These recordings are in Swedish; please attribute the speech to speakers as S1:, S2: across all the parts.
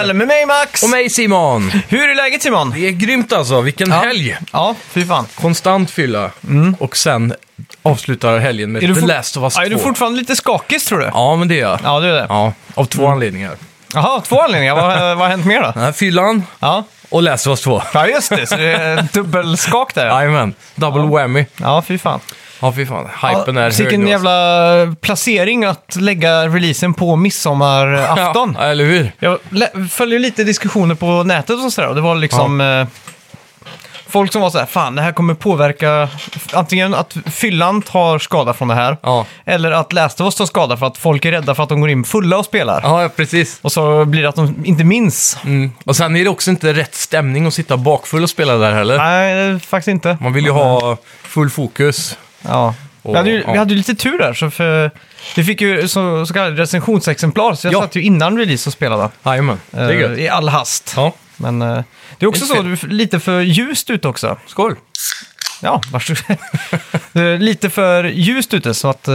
S1: podden med mig Max!
S2: Och mig Simon!
S1: Hur är läget Simon?
S2: Det är grymt alltså, vilken helg!
S1: Ja, fy fan.
S2: Konstant fylla. Och sen avslutar helgen med
S1: Är du
S2: The
S1: for-
S2: Last of Us 2.
S1: Ja, är du fortfarande lite skakig tror du?
S2: Ja, men det gör jag.
S1: Ja, Mm. det är det.
S2: Ja, av två anledningar.
S1: Jaha, två anledningar. vad, vad har hänt mer då?
S2: Den här fyllan
S1: Ja.
S2: och Last of Us 2.
S1: ja, just det. Så det är dubbelskak där. Ja,
S2: Jajamän, double whammy.
S1: ja fy fan.
S2: Ja, fy fan. Hypen är hög
S1: Vilken
S2: nu, alltså.
S1: jävla placering att lägga releasen på midsommarafton.
S2: alltså. Ja, eller hur?
S1: Jag lä- följer lite diskussioner på nätet och sådär och det var liksom eh, folk som var så här, fan det här kommer påverka antingen att fyllan tar skada från det här
S2: Ja.
S1: eller att Last of Us tar skada för att folk är rädda för att de går in fulla och spelar.
S2: Ja, precis.
S1: Och så blir det att de inte minns.
S2: Mm. Och sen är det också inte rätt stämning att sitta bakfull och spela där heller.
S1: Nej, det är faktiskt inte.
S2: Man vill ju ha full fokus.
S1: Ja.
S2: Och-
S1: vi, hade ju,
S2: ja.
S1: vi hade ju lite tur där, så för, vi fick ju så, så kallade recensionsexemplar, så jag
S2: Ja.
S1: satt ju innan release och spelade.
S2: Jajamän, det är
S1: eh,
S2: gött.
S1: I all hast.
S2: Ja,
S1: Men eh, det är också så,
S2: Inte fel.
S1: det är f- lite för ljust ute också.
S2: skål.
S1: Ja, varsågod. Det är lite för ljust ute så att eh,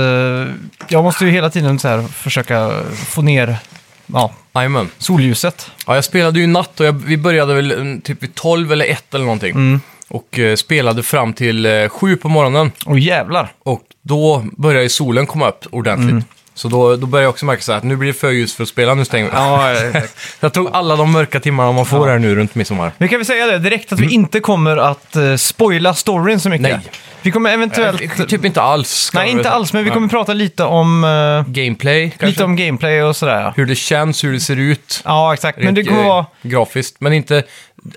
S1: jag måste ju hela tiden så här försöka få ner ja,
S2: Jajamän.
S1: solljuset.
S2: Ja, jag spelade ju natt och jag, vi började väl mm, typ vid 12 eller 1 eller någonting.
S1: Mm.
S2: Och eh, spelade fram till eh, 7 på morgonen.
S1: Och jävlar!
S2: Och då började ju solen komma upp ordentligt.
S1: Mm.
S2: Så då, då började jag också märka så här att nu blir det för ljust för att spela, nu stänger vi.
S1: Ja,
S2: "Ah." Jag tog alla de mörka timmarna man får här nu runt midsommar.
S1: nu kan vi säga det direkt att vi inte kommer att eh, spoila storyn så mycket.
S2: Mm. Nej.
S1: Vi kommer eventuellt...
S2: Typ inte alls. ska
S1: nej,
S2: jag väl
S1: inte
S2: säga.
S1: alls, men vi
S2: Nej.
S1: kommer prata lite om, eh,
S2: Gameplay kanske?
S1: lite om gameplay och sådär. ja.
S2: Hur det känns, hur det ser ut.
S1: Ja, exakt. Men det
S2: Rent,
S1: kommer
S2: eh,
S1: vara...
S2: Grafiskt, men inte...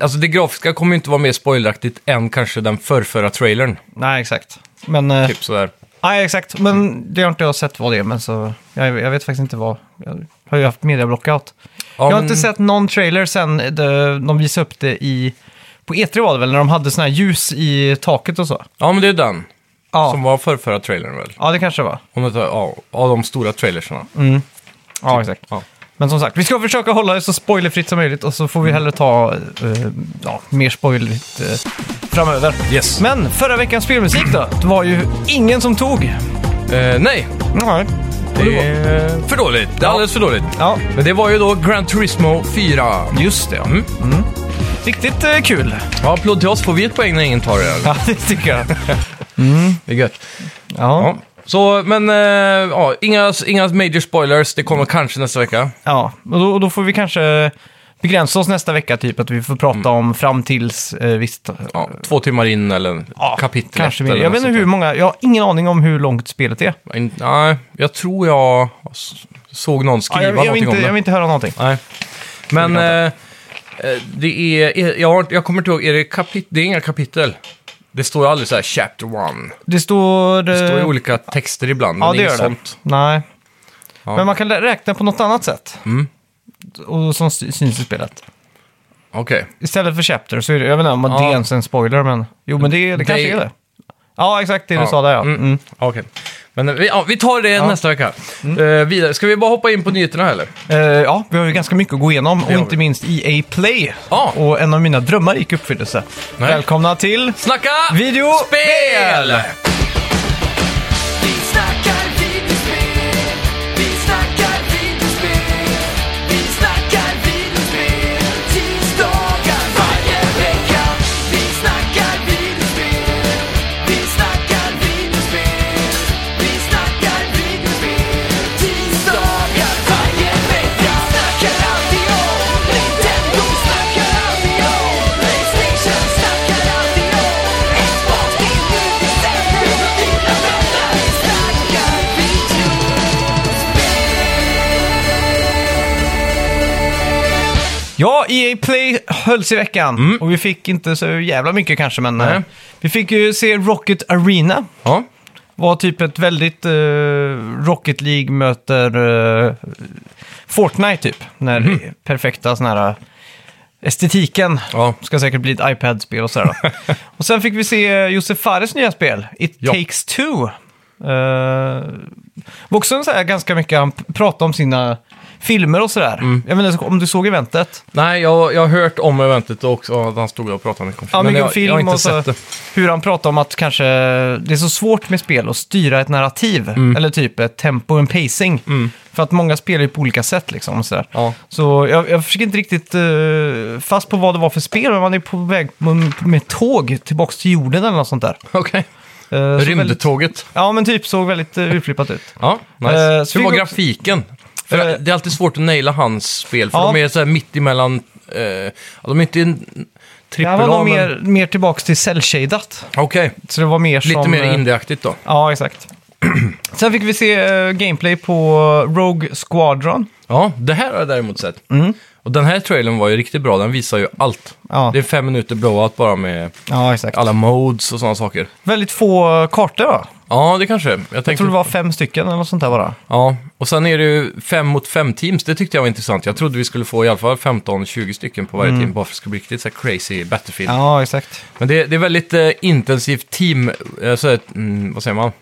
S2: Alltså det grafiska kommer ju inte vara mer spoileraktigt än kanske den förrförra trailern.
S1: Nej, exakt. Men... eh,
S2: Typ sådär.
S1: Nej, exakt. Men det har inte jag sett vad det är, men så... Jag, jag vet faktiskt inte vad... Jag har ju haft mediablockout.
S2: Ja,
S1: jag har
S2: men-
S1: inte sett någon trailer sen de, de visade upp det i... På E3 var det väl, när de hade såna här ljus i taket och så?
S2: Ja, men det är den.
S1: Ja,
S2: Som var förrförra trailern väl?
S1: ja det kanske det var.
S2: Om jag tar, ja, av de stora trailersarna.
S1: Mm. Ja, exakt.
S2: Ja.
S1: Men som sagt, vi ska försöka hålla det så spoilerfritt som möjligt och så får vi hellre ta eh, ja, mer spoilerfritt eh, framöver.
S2: Yes.
S1: Men förra veckans spelmusik då? Det var ju ingen som tog.
S2: Eh, nej,
S1: Nej.
S2: det är för dåligt. Det är alldeles för dåligt.
S1: Ja,
S2: Men det var ju då Gran Turismo 4.
S1: just det. ja.
S2: Mm.
S1: Riktigt eh, kul.
S2: Ja, applåd till oss. Får vi ett poäng när ingen tar det? eller?
S1: Ja, det tycker jag.
S2: Det är gött.
S1: Ja.
S2: Ja. Så, men eh, ja, inga, inga major spoilers. Det kommer kanske nästa vecka.
S1: ja. Och då, då får vi kanske begränsa oss nästa vecka, typ att vi får prata om fram tills eh, visst.
S2: Ja, två timmar in eller
S1: ja,
S2: kapitel
S1: Kanske
S2: ett
S1: mer.
S2: eller
S1: Jag
S2: något
S1: vet inte
S2: sånt
S1: hur många, jag har ingen aning om hur långt spelet är.
S2: där. In- Nej, jag tror jag s- såg någon skriva
S1: Ja, jag, jag, vill
S2: någonting
S1: inte,
S2: om det.
S1: jag vill inte höra någonting.
S2: Nej. Men eh, eh, det är... Jag, har, jag kommer inte ihåg, är det, kapit, det är inga kapitel. Det står aldrig så här chapter one.
S1: Det står...
S2: Det står
S1: eh,
S2: ju olika texter ibland, men
S1: ja, det
S2: inget
S1: gör det.
S2: sånt.
S1: Nej.
S2: Ja.
S1: Men man kan lä- räkna på något annat sätt. Och som sy- syns i spelet.
S2: Okej.
S1: Istället för chapter så är det, jag vet inte om det
S2: Ja.
S1: är ens en spoiler, men jo men det, det kanske
S2: Det-
S1: är det. Ja, exakt det du
S2: Ja.
S1: sa där ja.
S2: Mm.
S1: Mm.
S2: Okej. Men eh, vi, ja, vi tar det nästa vecka. Eh, vidare. Ska vi bara hoppa in på nyheterna eller?
S1: Eh, ja, vi har ju ganska mycket att gå igenom och
S2: har
S1: inte
S2: vi.
S1: minst EA Play.
S2: Ja.
S1: Och en av mina drömmar gick i uppfyllelse.
S2: Nej.
S1: Välkomna till...
S2: Snacka
S1: Videospel!
S2: spel!
S3: Vi snackar videospel, vi snackar videospel, vi snackar videospel, tisdagar varje vecka. Vi snackar videospel, vi snackar videospel, vi snackar videospel, tisdagar varje vecka. Snackar alltid om Nintendo, snackar alltid om Playstation, snackar alltid om Xbox, det är nu vi sätter upp dina vänner. Vi snackar videospel.
S1: Ja, EA Play hölls i veckan. Och vi fick inte så jävla mycket kanske, men
S2: Mm. Nej.
S1: eh, vi fick ju se Rocket Arena.
S2: Ja.
S1: Var typ ett väldigt eh, Rocket League möter eh, Fortnite typ. När perfekta sån här eh, estetiken
S2: Mm. Ja.
S1: Ska säkert bli ett iPad-spel och sådär. då. och sen fick vi se eh, Josef Fares nya spel, It
S2: Ja.
S1: takes Eh, two. Uh, var också en så här ganska mycket, han p- pratade om sina filmer och sådär.
S2: Mm.
S1: Jag menar om du såg eventet.
S2: Nej, jag, jag har hört om eventet också, att han stod och pratade mycket om film.
S1: Ja,
S2: men
S1: mycket om
S2: jag, jag har
S1: film
S2: inte
S1: och så,
S2: sett det.
S1: hur han pratar om att kanske det är så svårt med spel att styra ett narrativ.
S2: Mm.
S1: Eller typ ett tempo och en pacing. För att många spelar ju på olika sätt liksom. Och sådär.
S2: Ja.
S1: Så jag, jag fick inte riktigt eh, fast på vad det var för spel. Men man är på väg med, med tåg tillbaka till jorden eller något sånt där.
S2: Okej.
S1: Eh, så väldigt-
S2: Rymdtåget.
S1: Ja, men typ såg väldigt uh, utflippat ut.
S2: Ja, nice.
S1: Eh, så
S2: Hur
S1: vi
S2: var
S1: går-
S2: grafiken? För
S1: Eh,
S2: det är alltid svårt att naila hans spel, för
S1: Ja.
S2: de är så här mitt emellan... Eh, ja, de är inte en
S1: Det
S2: trippel
S1: här var
S2: A,
S1: nog
S2: men...
S1: mer, mer tillbaka till cell-shadat.
S2: Okej,
S1: Så det var mer
S2: lite
S1: som...
S2: mer
S1: eh,
S2: indieaktigt då.
S1: Ja, exakt. Sen fick vi se eh, gameplay på Rogue Squadron.
S2: Ja, det här har jag däremot sett. Och den här trailern var ju riktigt bra, den visar ju allt.
S1: Mm. Ja.
S2: Det är fem minuter blowout bara med
S1: Ja, exakt.
S2: alla modes och sådana saker.
S1: Väldigt få eh, kartor va?
S2: Ja, det kanske. Jag, tänkte...
S1: Jag tror det var fem stycken eller något sånt där bara.
S2: Ja, och sen är det ju fem mot fem teams. Det tyckte jag var intressant. Jag trodde vi skulle få i alla fall 15-20 stycken på
S1: Mm.
S2: varje team, bara för att det skulle bli riktigt så här crazy Battlefield.
S1: Ja, exakt.
S2: Men det, det är väldigt eh, intensivt team, eh, så, här, mm, vad säger man?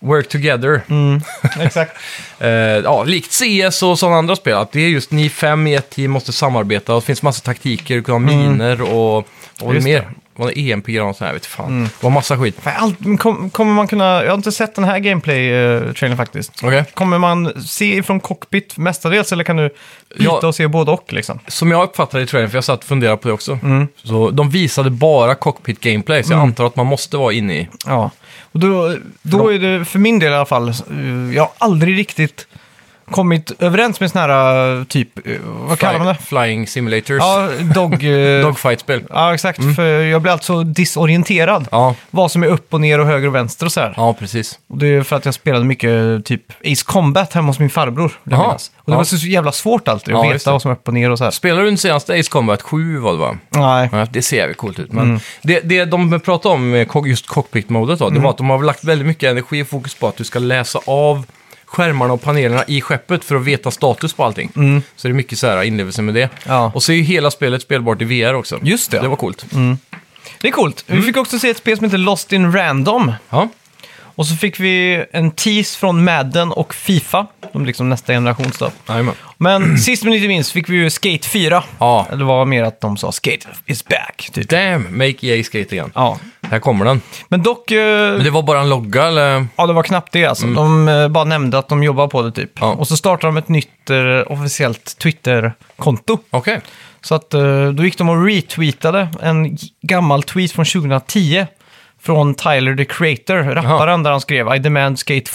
S2: Work together.
S1: Mm. exakt.
S2: Eh, ja, likt CS och sådana andra spel, att det är just ni fem i ett team måste samarbeta och det finns massa taktiker, du kan ha miner och, och vad
S1: Mm. Just Mm.
S2: mer? Vad är E EMP och sånt här, vet fan. Det var massa skit.
S1: Fan, allt- men kom, kommer man kunna... Jag har inte sett den här gameplay-trailern faktiskt.
S2: Okej.
S1: Kommer man se ifrån cockpit mestadels eller kan du byta
S2: Ja.
S1: och se både och liksom?
S2: Som jag uppfattade i trailern, för jag satt och funderade på det också,
S1: Mm.
S2: så de visade bara cockpit gameplay, så jag antar att man måste vara inne i...
S1: Ja. Och då, då är det för min del i alla fall, eh, jag har aldrig riktigt kommit överens med sådana här eh, typ, eh, vad kallar man det?
S2: Flying simulators.
S1: Ja, dog... eh,
S2: Dogfight-spel.
S1: Ja, exakt. För jag blir alltså disorienterad.
S2: Mm. Ja.
S1: Vad som är upp och ner och höger och vänster och sådär.
S2: ja, precis.
S1: Och det är för att jag spelade mycket typ Ace Combat hemma hos min farbror. vill jag
S2: Jaha.
S1: minnas. Och det
S2: Ja.
S1: var så så jävla svårt alltid att
S2: Ja, just
S1: veta
S2: det.
S1: vad som är upp och ner och så här.
S2: Spelar du den senaste Ace Combat 7 var det va?
S1: Nej.
S2: Ja, det ser jävligt coolt ut. Men
S1: Mm.
S2: det, det de pratade om med co- just cockpit-modet då,
S1: Mm.
S2: det var att de har lagt väldigt mycket energi och fokus på att du ska läsa av skärmarna och panelerna i skeppet för att veta status på allting. Så det är mycket så här inlevelse med det.
S1: Mm. Ja.
S2: Och så är ju hela spelet spelbart i VR också.
S1: Just det. Mm.
S2: Det var coolt.
S1: Det är coolt.
S2: Mm.
S1: Vi fick också se ett spel som heter Lost in Random.
S2: Ja.
S1: Och så fick vi en tease från Madden och Fifa. De är liksom nästa generations då.
S2: Jajamän.
S1: Men sist men inte minst fick vi ju Skate 4.
S2: Ja.
S1: Eller var mer att de sa Skate is back. Typ.
S2: Damn, make EA skate igen.
S1: Ja.
S2: Här kommer den.
S1: Men dock... eh,
S2: Men det var bara en logga eller?
S1: Ja, det var knappt det alltså. De eh, bara nämnde att de jobbar på det typ.
S2: Ja.
S1: Och så startade de ett nytt eh, officiellt Twitter-konto.
S2: Okej.
S1: Så att eh, då gick de och retweetade en g- gammal tweet från 2010 från Tyler the Creator, rapparen, där han skrev I demand skate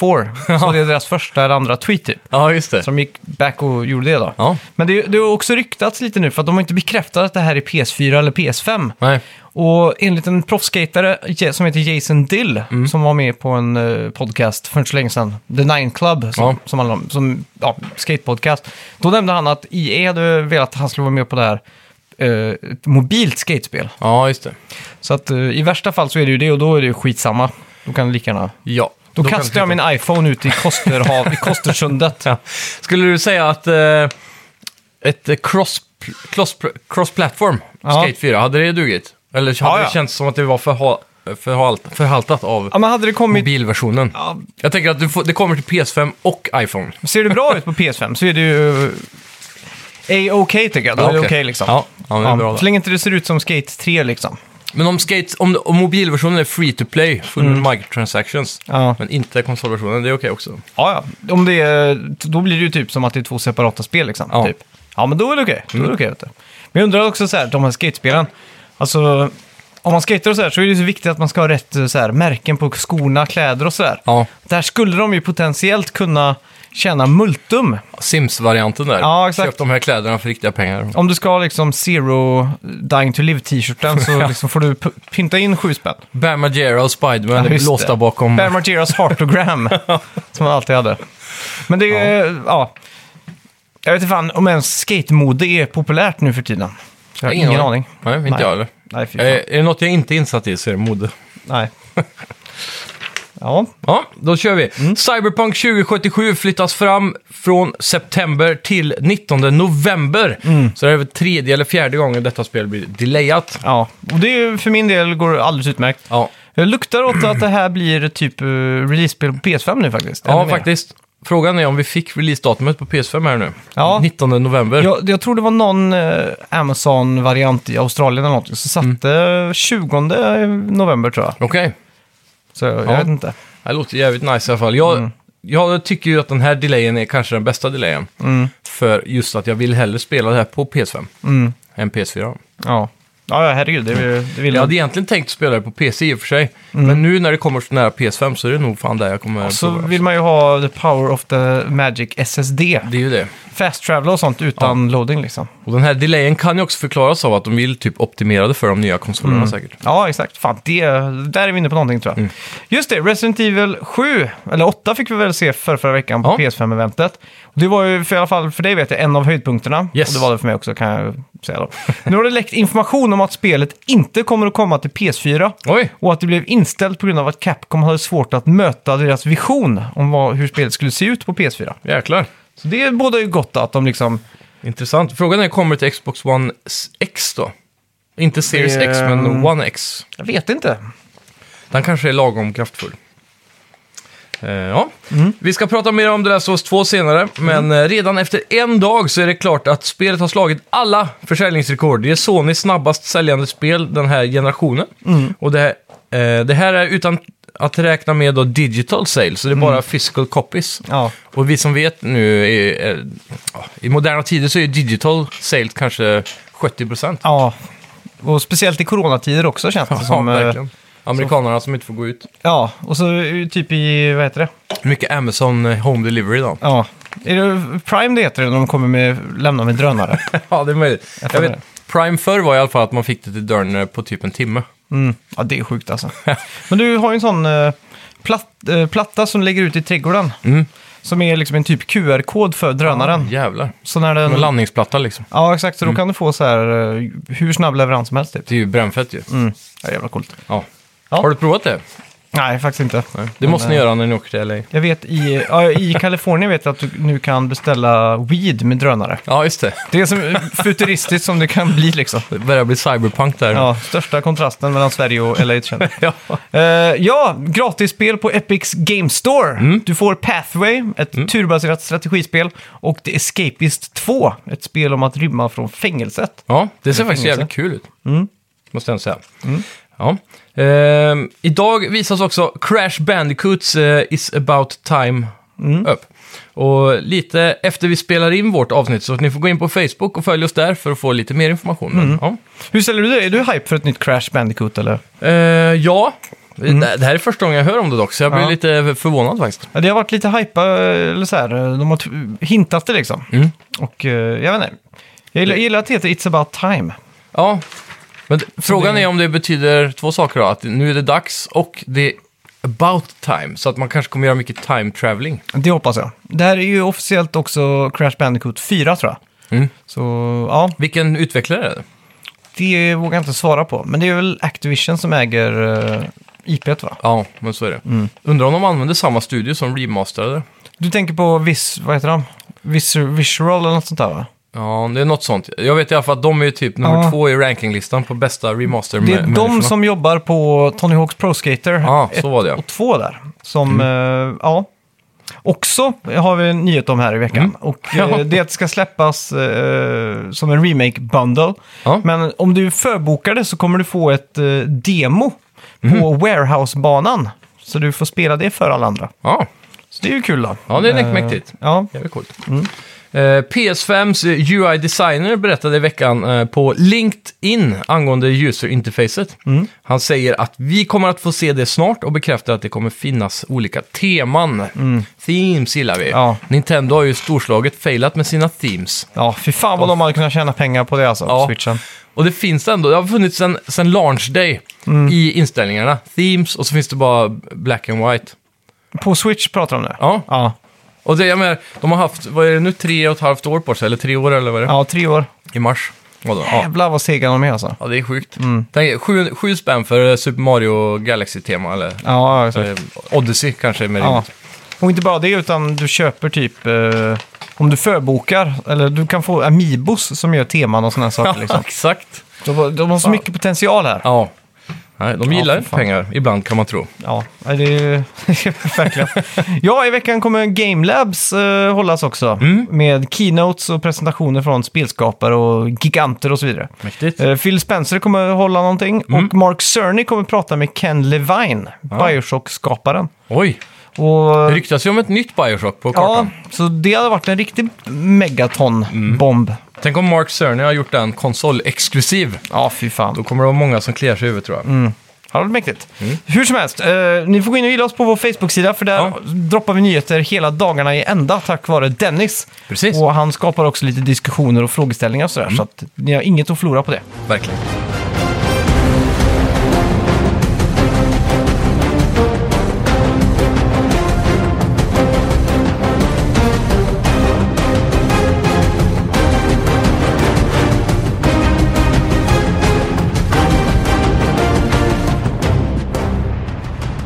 S1: 4. Så det är deras första eller andra tweet typ.
S2: Ja, just det.
S1: Så de gick back och gjorde det då.
S2: Ja.
S1: Men det, det har också ryktats lite nu för att de har inte bekräftat att det här är PS4 eller PS5.
S2: Nej.
S1: Och enligt en proffsskatare Je- som heter Jason Dill,
S2: Mm.
S1: som var med på en eh, podcast för inte så länge sedan, The Nine Club, som,
S2: Ja.
S1: som handlar om som, ja, skatepodcast, då nämnde han att EA hade velat att han skulle vara med på det här eh, ett mobilt skatespel.
S2: Ja, just det.
S1: Så att eh, i värsta fall så är det ju det och då är det ju skitsamma. Då kan det lika gärna...
S2: Ja.
S1: Då,
S2: kan
S1: kastar jag
S2: du-
S1: min iPhone ut i, Kosterhav, i Kostersundet.
S2: Ja. Skulle du säga att eh, ett eh, cross, cross, cross-platform,
S1: Ja.
S2: Skate 4, hade det dugit? Eller hade
S1: Ja, ja.
S2: det känts som att det var förha, förhalt, förhaltat av
S1: Ja, men hade det kommit...
S2: mobilversionen?
S1: Ja,
S2: Jag tänker att du får, det kommer till PS5 och iPhone.
S1: ser det bra ut på PS5 så är det ju... eh, A-OK tycker jag, då är det okej liksom.
S2: Ja, ja, men det är
S1: Ja,
S2: bra då.
S1: så länge inte det ser ut som Skate 3 liksom.
S2: Men om, skate, om, om mobilversionen är free to play, full med microtransactions,
S1: Mm. Ja.
S2: men inte konsolversionen, det är okej också.
S1: Ja, ja. Om det är, då blir det ju typ som att det är två separata spel liksom. Ja,
S2: Ja. Mm.
S1: typ. ja men då är det okej. Då är det okej, vet du. Men jag undrar också så här, de här skatespelen. Alltså, om man skater och så här så är det ju så viktigt att man ska ha rätt eh, så här, märken på skorna, kläder och så där.
S2: Ja,
S1: Där skulle de ju potentiellt kunna tjäna multum.
S2: Sims-varianten där.
S1: Ja, exakt.
S2: Köp de här kläderna för riktiga pengar.
S1: Om du ska ha liksom Zero Dying to Live-t-shirten så liksom får du p- pynta in sju spänn.
S2: Bam Margera och
S1: Ja,
S2: Spiderman är
S1: just
S2: låsta
S1: det.
S2: bakom...
S1: Bear Margeras Heartogram, som han alltid hade. Men det är, ja. Jag vet inte fan om ens skatemode är populärt nu för tiden. Jag har ingen, aning.
S2: Nej, inte
S1: Nej.
S2: jag heller.
S1: Nej, fy fan.
S2: Eh, Är det något jag inte är insatt i så är det mode.
S1: Nej. Ja,
S2: Ja, då kör vi.
S1: Mm.
S2: Cyberpunk 2077 flyttas fram från september till 19 november.
S1: Mm.
S2: Så det är väl tredje eller fjärde gången detta spel blir delayat.
S1: ja. Och det är, ju- för min del går det alldeles utmärkt.
S2: Ja,
S1: Jag luktar åt att det här blir typ uh, release-spel eh, på PS5 nu faktiskt.
S2: ja
S1: Ännu mer.
S2: faktiskt. Frågan är om vi fick releasedatumet på PS5 här nu.
S1: Ja.
S2: 19 november.
S1: Jag, jag tror det var någon eh, Amazon-variant i Australien eller någonting. Så
S2: Mm.
S1: satte 20 november tror jag.
S2: Okej.
S1: Så jag,
S2: Ja.
S1: jag vet inte.
S2: Det låter jävligt nice i alla fall.
S1: Mm.
S2: Jag, jag tycker ju att den här delayen är kanske den bästa delayen.
S1: Mm.
S2: För just att jag vill hellre spela det här på PS5
S1: Mm.
S2: än PS4.
S1: Ja. Ja, ja, herregud. Det, vill- det vill
S2: Jag
S1: jag.
S2: hade egentligen tänkt spela det på PC i och för sig.
S1: Mm.
S2: Men nu när det kommer så nära PS5 så är det nog fan där jag kommer
S1: Så
S2: prova.
S1: Alltså, vill man ju ha the power of the magic SSD.
S2: Det är ju det.
S1: Fast travel och sånt utan loading liksom.
S2: Och den här delayen kan ju också förklaras av att de vill typ optimera det för de nya konsolerna
S1: Mm.
S2: säkert.
S1: Ja, exakt. Fan, det, där är vi inne på någonting tror
S2: Mm.
S1: jag. Just det, Resident Evil 7, eller 8 fick vi väl se för förra veckan på
S2: Ja.
S1: PS5-eventet. Det var ju, för i alla fall för dig vet jag, en av höjdpunkterna.
S2: Yes.
S1: Och det var det för mig också kan jag säga då. nu har det läckt information om att spelet inte kommer att komma till PS4.
S2: Oj!
S1: Och att det blev inställt på grund av att Capcom hade svårt att möta deras vision om vad, hur spelet skulle se ut på PS4.
S2: Jäklar.
S1: Så det båda ju gott att de liksom...
S2: Intressant. Frågan är, kommer det till Xbox One S- X då? Inte Series
S1: Det-
S2: X, men One X.
S1: Jag vet inte.
S2: Den kanske är lagom kraftfull. Eh, ja.
S1: Mm.
S2: Vi ska prata mer om The Last of Us 2 senare, men eh, redan efter en dag så är det klart att spelet har slagit alla försäljningsrekord. Det är Sonys snabbast säljande spel den här generationen.
S1: Mm.
S2: Och det, eh, det här är utan att räkna med då digital sales, så det är bara physical copies.
S1: Mm. Ja.
S2: Och vi som vet nu, är, är, ja, i moderna tider så är digital sales kanske 70 procent.
S1: Ja. Och speciellt i coronatider också känns det som. eh,
S2: verkligen. Amerikanerna som inte får gå ut.
S1: Ja, och så eh, typ i, vad heter det?
S2: Mycket Amazon eh, Home Delivery då.
S1: Ja. Är det Prime det heter det när de kommer med, lämnar med drönare?
S2: Ja, det är möjligt.
S1: Jag
S2: Jag
S1: tror
S2: vet, Prime förr var i alla fall att man fick det till dörren eh, på typ en timme.
S1: Mm. Ja, det är sjukt alltså. Men du har ju en sån eh, platt, eh, platta som lägger ut i trädgården.
S2: Mm.
S1: Som är liksom en typ QR-kod för drönaren.
S2: Jävlar.
S1: Så när den...
S2: En landningsplatta liksom.
S1: Ja, exakt. Så då kan du få så här eh, hur snabb leverans som helst typ.
S2: Det är ju brännfett ju.
S1: Mm. Ja, jävla coolt.
S2: Ja.
S1: Ja.
S2: Har du provat det?
S1: Nej, faktiskt inte. eh,
S2: Det måste ni göra när ni åker till LA.
S1: Jag vet i, ja, i Kalifornien vet jag att du nu kan beställa weed med drönare.
S2: Ja, just det.
S1: Det är så futuristiskt som det kan bli liksom.
S2: Det börjar bli cyberpunk där.
S1: Ja, största kontrasten mellan Sverige och LA känner jag.
S2: Ja.
S1: Eh, ja, gratisspel på Epics Game Store.
S2: Mm.
S1: Du får Pathway, ett turbaserat strategispel, och The Escapist 2, ett spel om att rymma från fängelset.
S2: Ja, det ser faktiskt
S1: fängelse.
S2: jävligt kul ut.
S1: Mm.
S2: Måste jag ändå säga. Ja. Ehm, idag visas också Crash Bandicoots eh, Is about time
S1: Mm.
S2: upp. Och lite efter vi spelar in vårt avsnitt så ni får gå in på Facebook och följ oss där för att få lite mer information. Men,
S1: Mm.
S2: ja.
S1: Hur ställer du dig? Är du hype för ett nytt Crash Bandicoot eller?
S2: Eh, ja. Det, det här är första gången jag hör om det dock, så jag blir
S1: Mm. Ja.
S2: lite förvånad faktiskt.
S1: Ja, det har varit lite hypa, eller så här, eh, de har t- hintat det liksom.
S2: Mm.
S1: Och eh, jag vet inte. Jag gillar, jag gillar att det heter It's about time.
S2: Ja, men d- frågan
S1: det-
S2: är om det betyder två saker då, att nu är det dags och det är about time, så att man kanske kommer göra mycket time traveling.
S1: Det hoppas jag. Det här är ju officiellt också Crash Bandicoot 4 tror jag.
S2: Mm.
S1: Så ja,
S2: Vilken utvecklare är det?
S1: det vågar jag inte svara på. Men det är väl Activision som äger uh, IPet va?
S2: Ja, men så är det.
S1: Mm.
S2: Undrar om de använder samma studio som remasterade.
S1: Du tänker på Vis, vad heter de? Vis, Visual eller något sånt där va?
S2: Ja, det är något sånt. Jag vet i alla fall att de är ju typ nummer
S1: Ja.
S2: två i rankinglistan på bästa remaster
S1: Det är de som jobbar på Tony Hawk's Pro Skater
S2: Ja,
S1: ett
S2: så var det ja.
S1: och två där. Som, eh, ja. Också har vi en nyhet om här i veckan. Och eh,
S2: Ja.
S1: det är att det ska släppas eh, som en remake bundle.
S2: Ja.
S1: Men om du förbokar det så kommer du få ett eh, demo på Warehouse-banan. Så du får spela det för alla andra.
S2: Ja,
S1: Så det är ju kul då.
S2: ja det
S1: Eh,
S2: är läckmäktigt.
S1: Ja,
S2: Jävligt coolt.
S1: Mm.
S2: Eh, PS5s UI-designer berättade i veckan eh, på LinkedIn angående user-interfacet.
S1: Mm.
S2: Han säger att vi kommer att få se det snart och bekräftar att det kommer finnas olika teman. Themes gillar vi.
S1: Mm. Ja.
S2: Nintendo har ju storslaget failat med sina themes.
S1: ja fy fan vad de hade kunnat tjäna pengar på det alltså,
S2: Ja.
S1: på switchen.
S2: Och det finns ändå, det har funnits sen, sen launch day
S1: Mm.
S2: i inställningarna. Themes och så finns det bara black and white.
S1: På Switch pratar de nu?
S2: Ja,
S1: Ja,
S2: och det, jag menar, de har haft, vad är det nu, tre och ett halvt år på sig, eller tre år eller vad är det?
S1: ja tre år.
S2: I mars. Vadå? Ja.
S1: Jävlar vad sega de är alltså.
S2: ja, det är sjukt. Tänk, er, sju, sju spänn för eh, Super Mario Galaxy-tema, eller
S1: Ja, exakt.
S2: eh, Odyssey kanske är mer
S1: Ja.
S2: rimligt.
S1: Och inte bara det, utan du köper typ... Eh, om du förbokar, eller du kan få Amiibos som gör teman och sådana saker. Liksom.
S2: exakt.
S1: De, har- de har så mycket potential här.
S2: Ja. Nej, de
S1: Ja,
S2: gillar
S1: för
S2: inte
S1: fan.
S2: pengar, ibland kan man tro.
S1: Ja, nej, det är verkligen. Ja, i veckan kommer Gamelabs eh, hållas också.
S2: Mm.
S1: Med keynotes och presentationer från spelskapare och giganter och så vidare.
S2: Mäktigt.
S1: Eh, Phil Spencer kommer hålla någonting
S2: Mm.
S1: och Mark Cerny kommer prata med Ken Levine, Bioshock-skaparen.
S2: Oj,
S1: Och, eh,
S2: det ryktas ju om ett nytt Bioshock på
S1: ja,
S2: kartan.
S1: så det hade varit en riktig megaton-bomb.
S2: Tänk om Mark Cerny har gjort den konsolexklusiv.
S1: Ja, fy fan.
S2: Då Mm. kommer det vara många som kliar sig i huvudet tror jag.
S1: Ja, det är mäktigt. Hur som helst, eh, ni får gå in och gilla oss på vår Facebook-sida för där
S2: Ja.
S1: droppar vi nyheter hela dagarna i ända tack vare Dennis.
S2: Precis. Mm.
S1: Och han skapar också lite diskussioner och frågeställningar och sådär, så att ni har inget att förlora på det.
S2: Verkligen.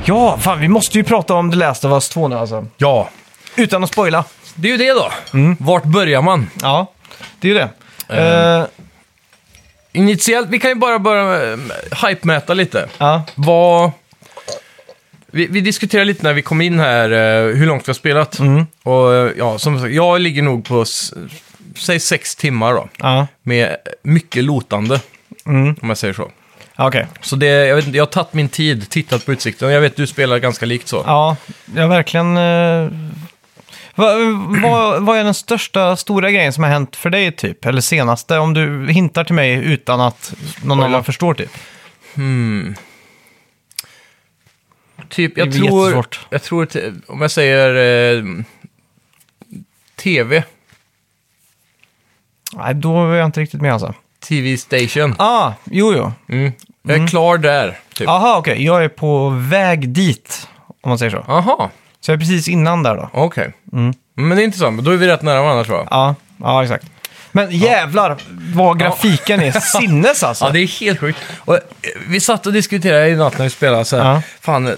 S1: Ja, fan vi måste ju prata om The Last of Us 2 nu alltså.
S2: Ja,
S1: Utan att spoila.
S2: det är ju det då. Vart börjar man?
S1: Ja, det är ju det.
S2: Ehm.
S1: Eh,
S2: Initiellt, vi kan ju bara börja med, eh, hype-mäta lite.
S1: ja.
S2: Vad... Vi, vi diskuterade lite när vi kom in här eh, hur långt vi har spelat. Och eh, ja, som sagt, jag ligger nog på, s- säg sex timmar då.
S1: Ja,
S2: Med mycket lotande,
S1: mm.
S2: om jag säger så.
S1: okej.
S2: Så det, jag, vet, inte, jag har tagit min tid, tittat på utsikten. Jag vet du spelar ganska likt så.
S1: Ja, jag verkligen... eh, Vad vad- vad är den största stora grejen som har hänt för dig, typ? Eller senaste, om du hintar till mig utan att någon annan förstår, typ?
S2: Typ,
S1: Det
S2: jag
S1: blir
S2: tror,
S1: jättesvårt.
S2: jag tror, t- om jag säger eh, tv,
S1: Nej, då är jag inte riktigt med alltså.
S2: tv station.
S1: Ah, jo, jo.
S2: Mm. Jag är klar där, typ.
S1: Aha, okej. Jag är på väg dit, om man säger så.
S2: Aha,
S1: Så jag är precis innan där då.
S2: okej.
S1: Mm.
S2: Men det är intressant, då är vi rätt nära varandra tror jag.
S1: Ja, ja exakt. Men jävlar vad grafiken är sinnes alltså.
S2: Ja, det är helt sjukt. Och, eh, vi satt och diskuterade i natt när vi spelade så här,
S1: Ja.
S2: fan, eh,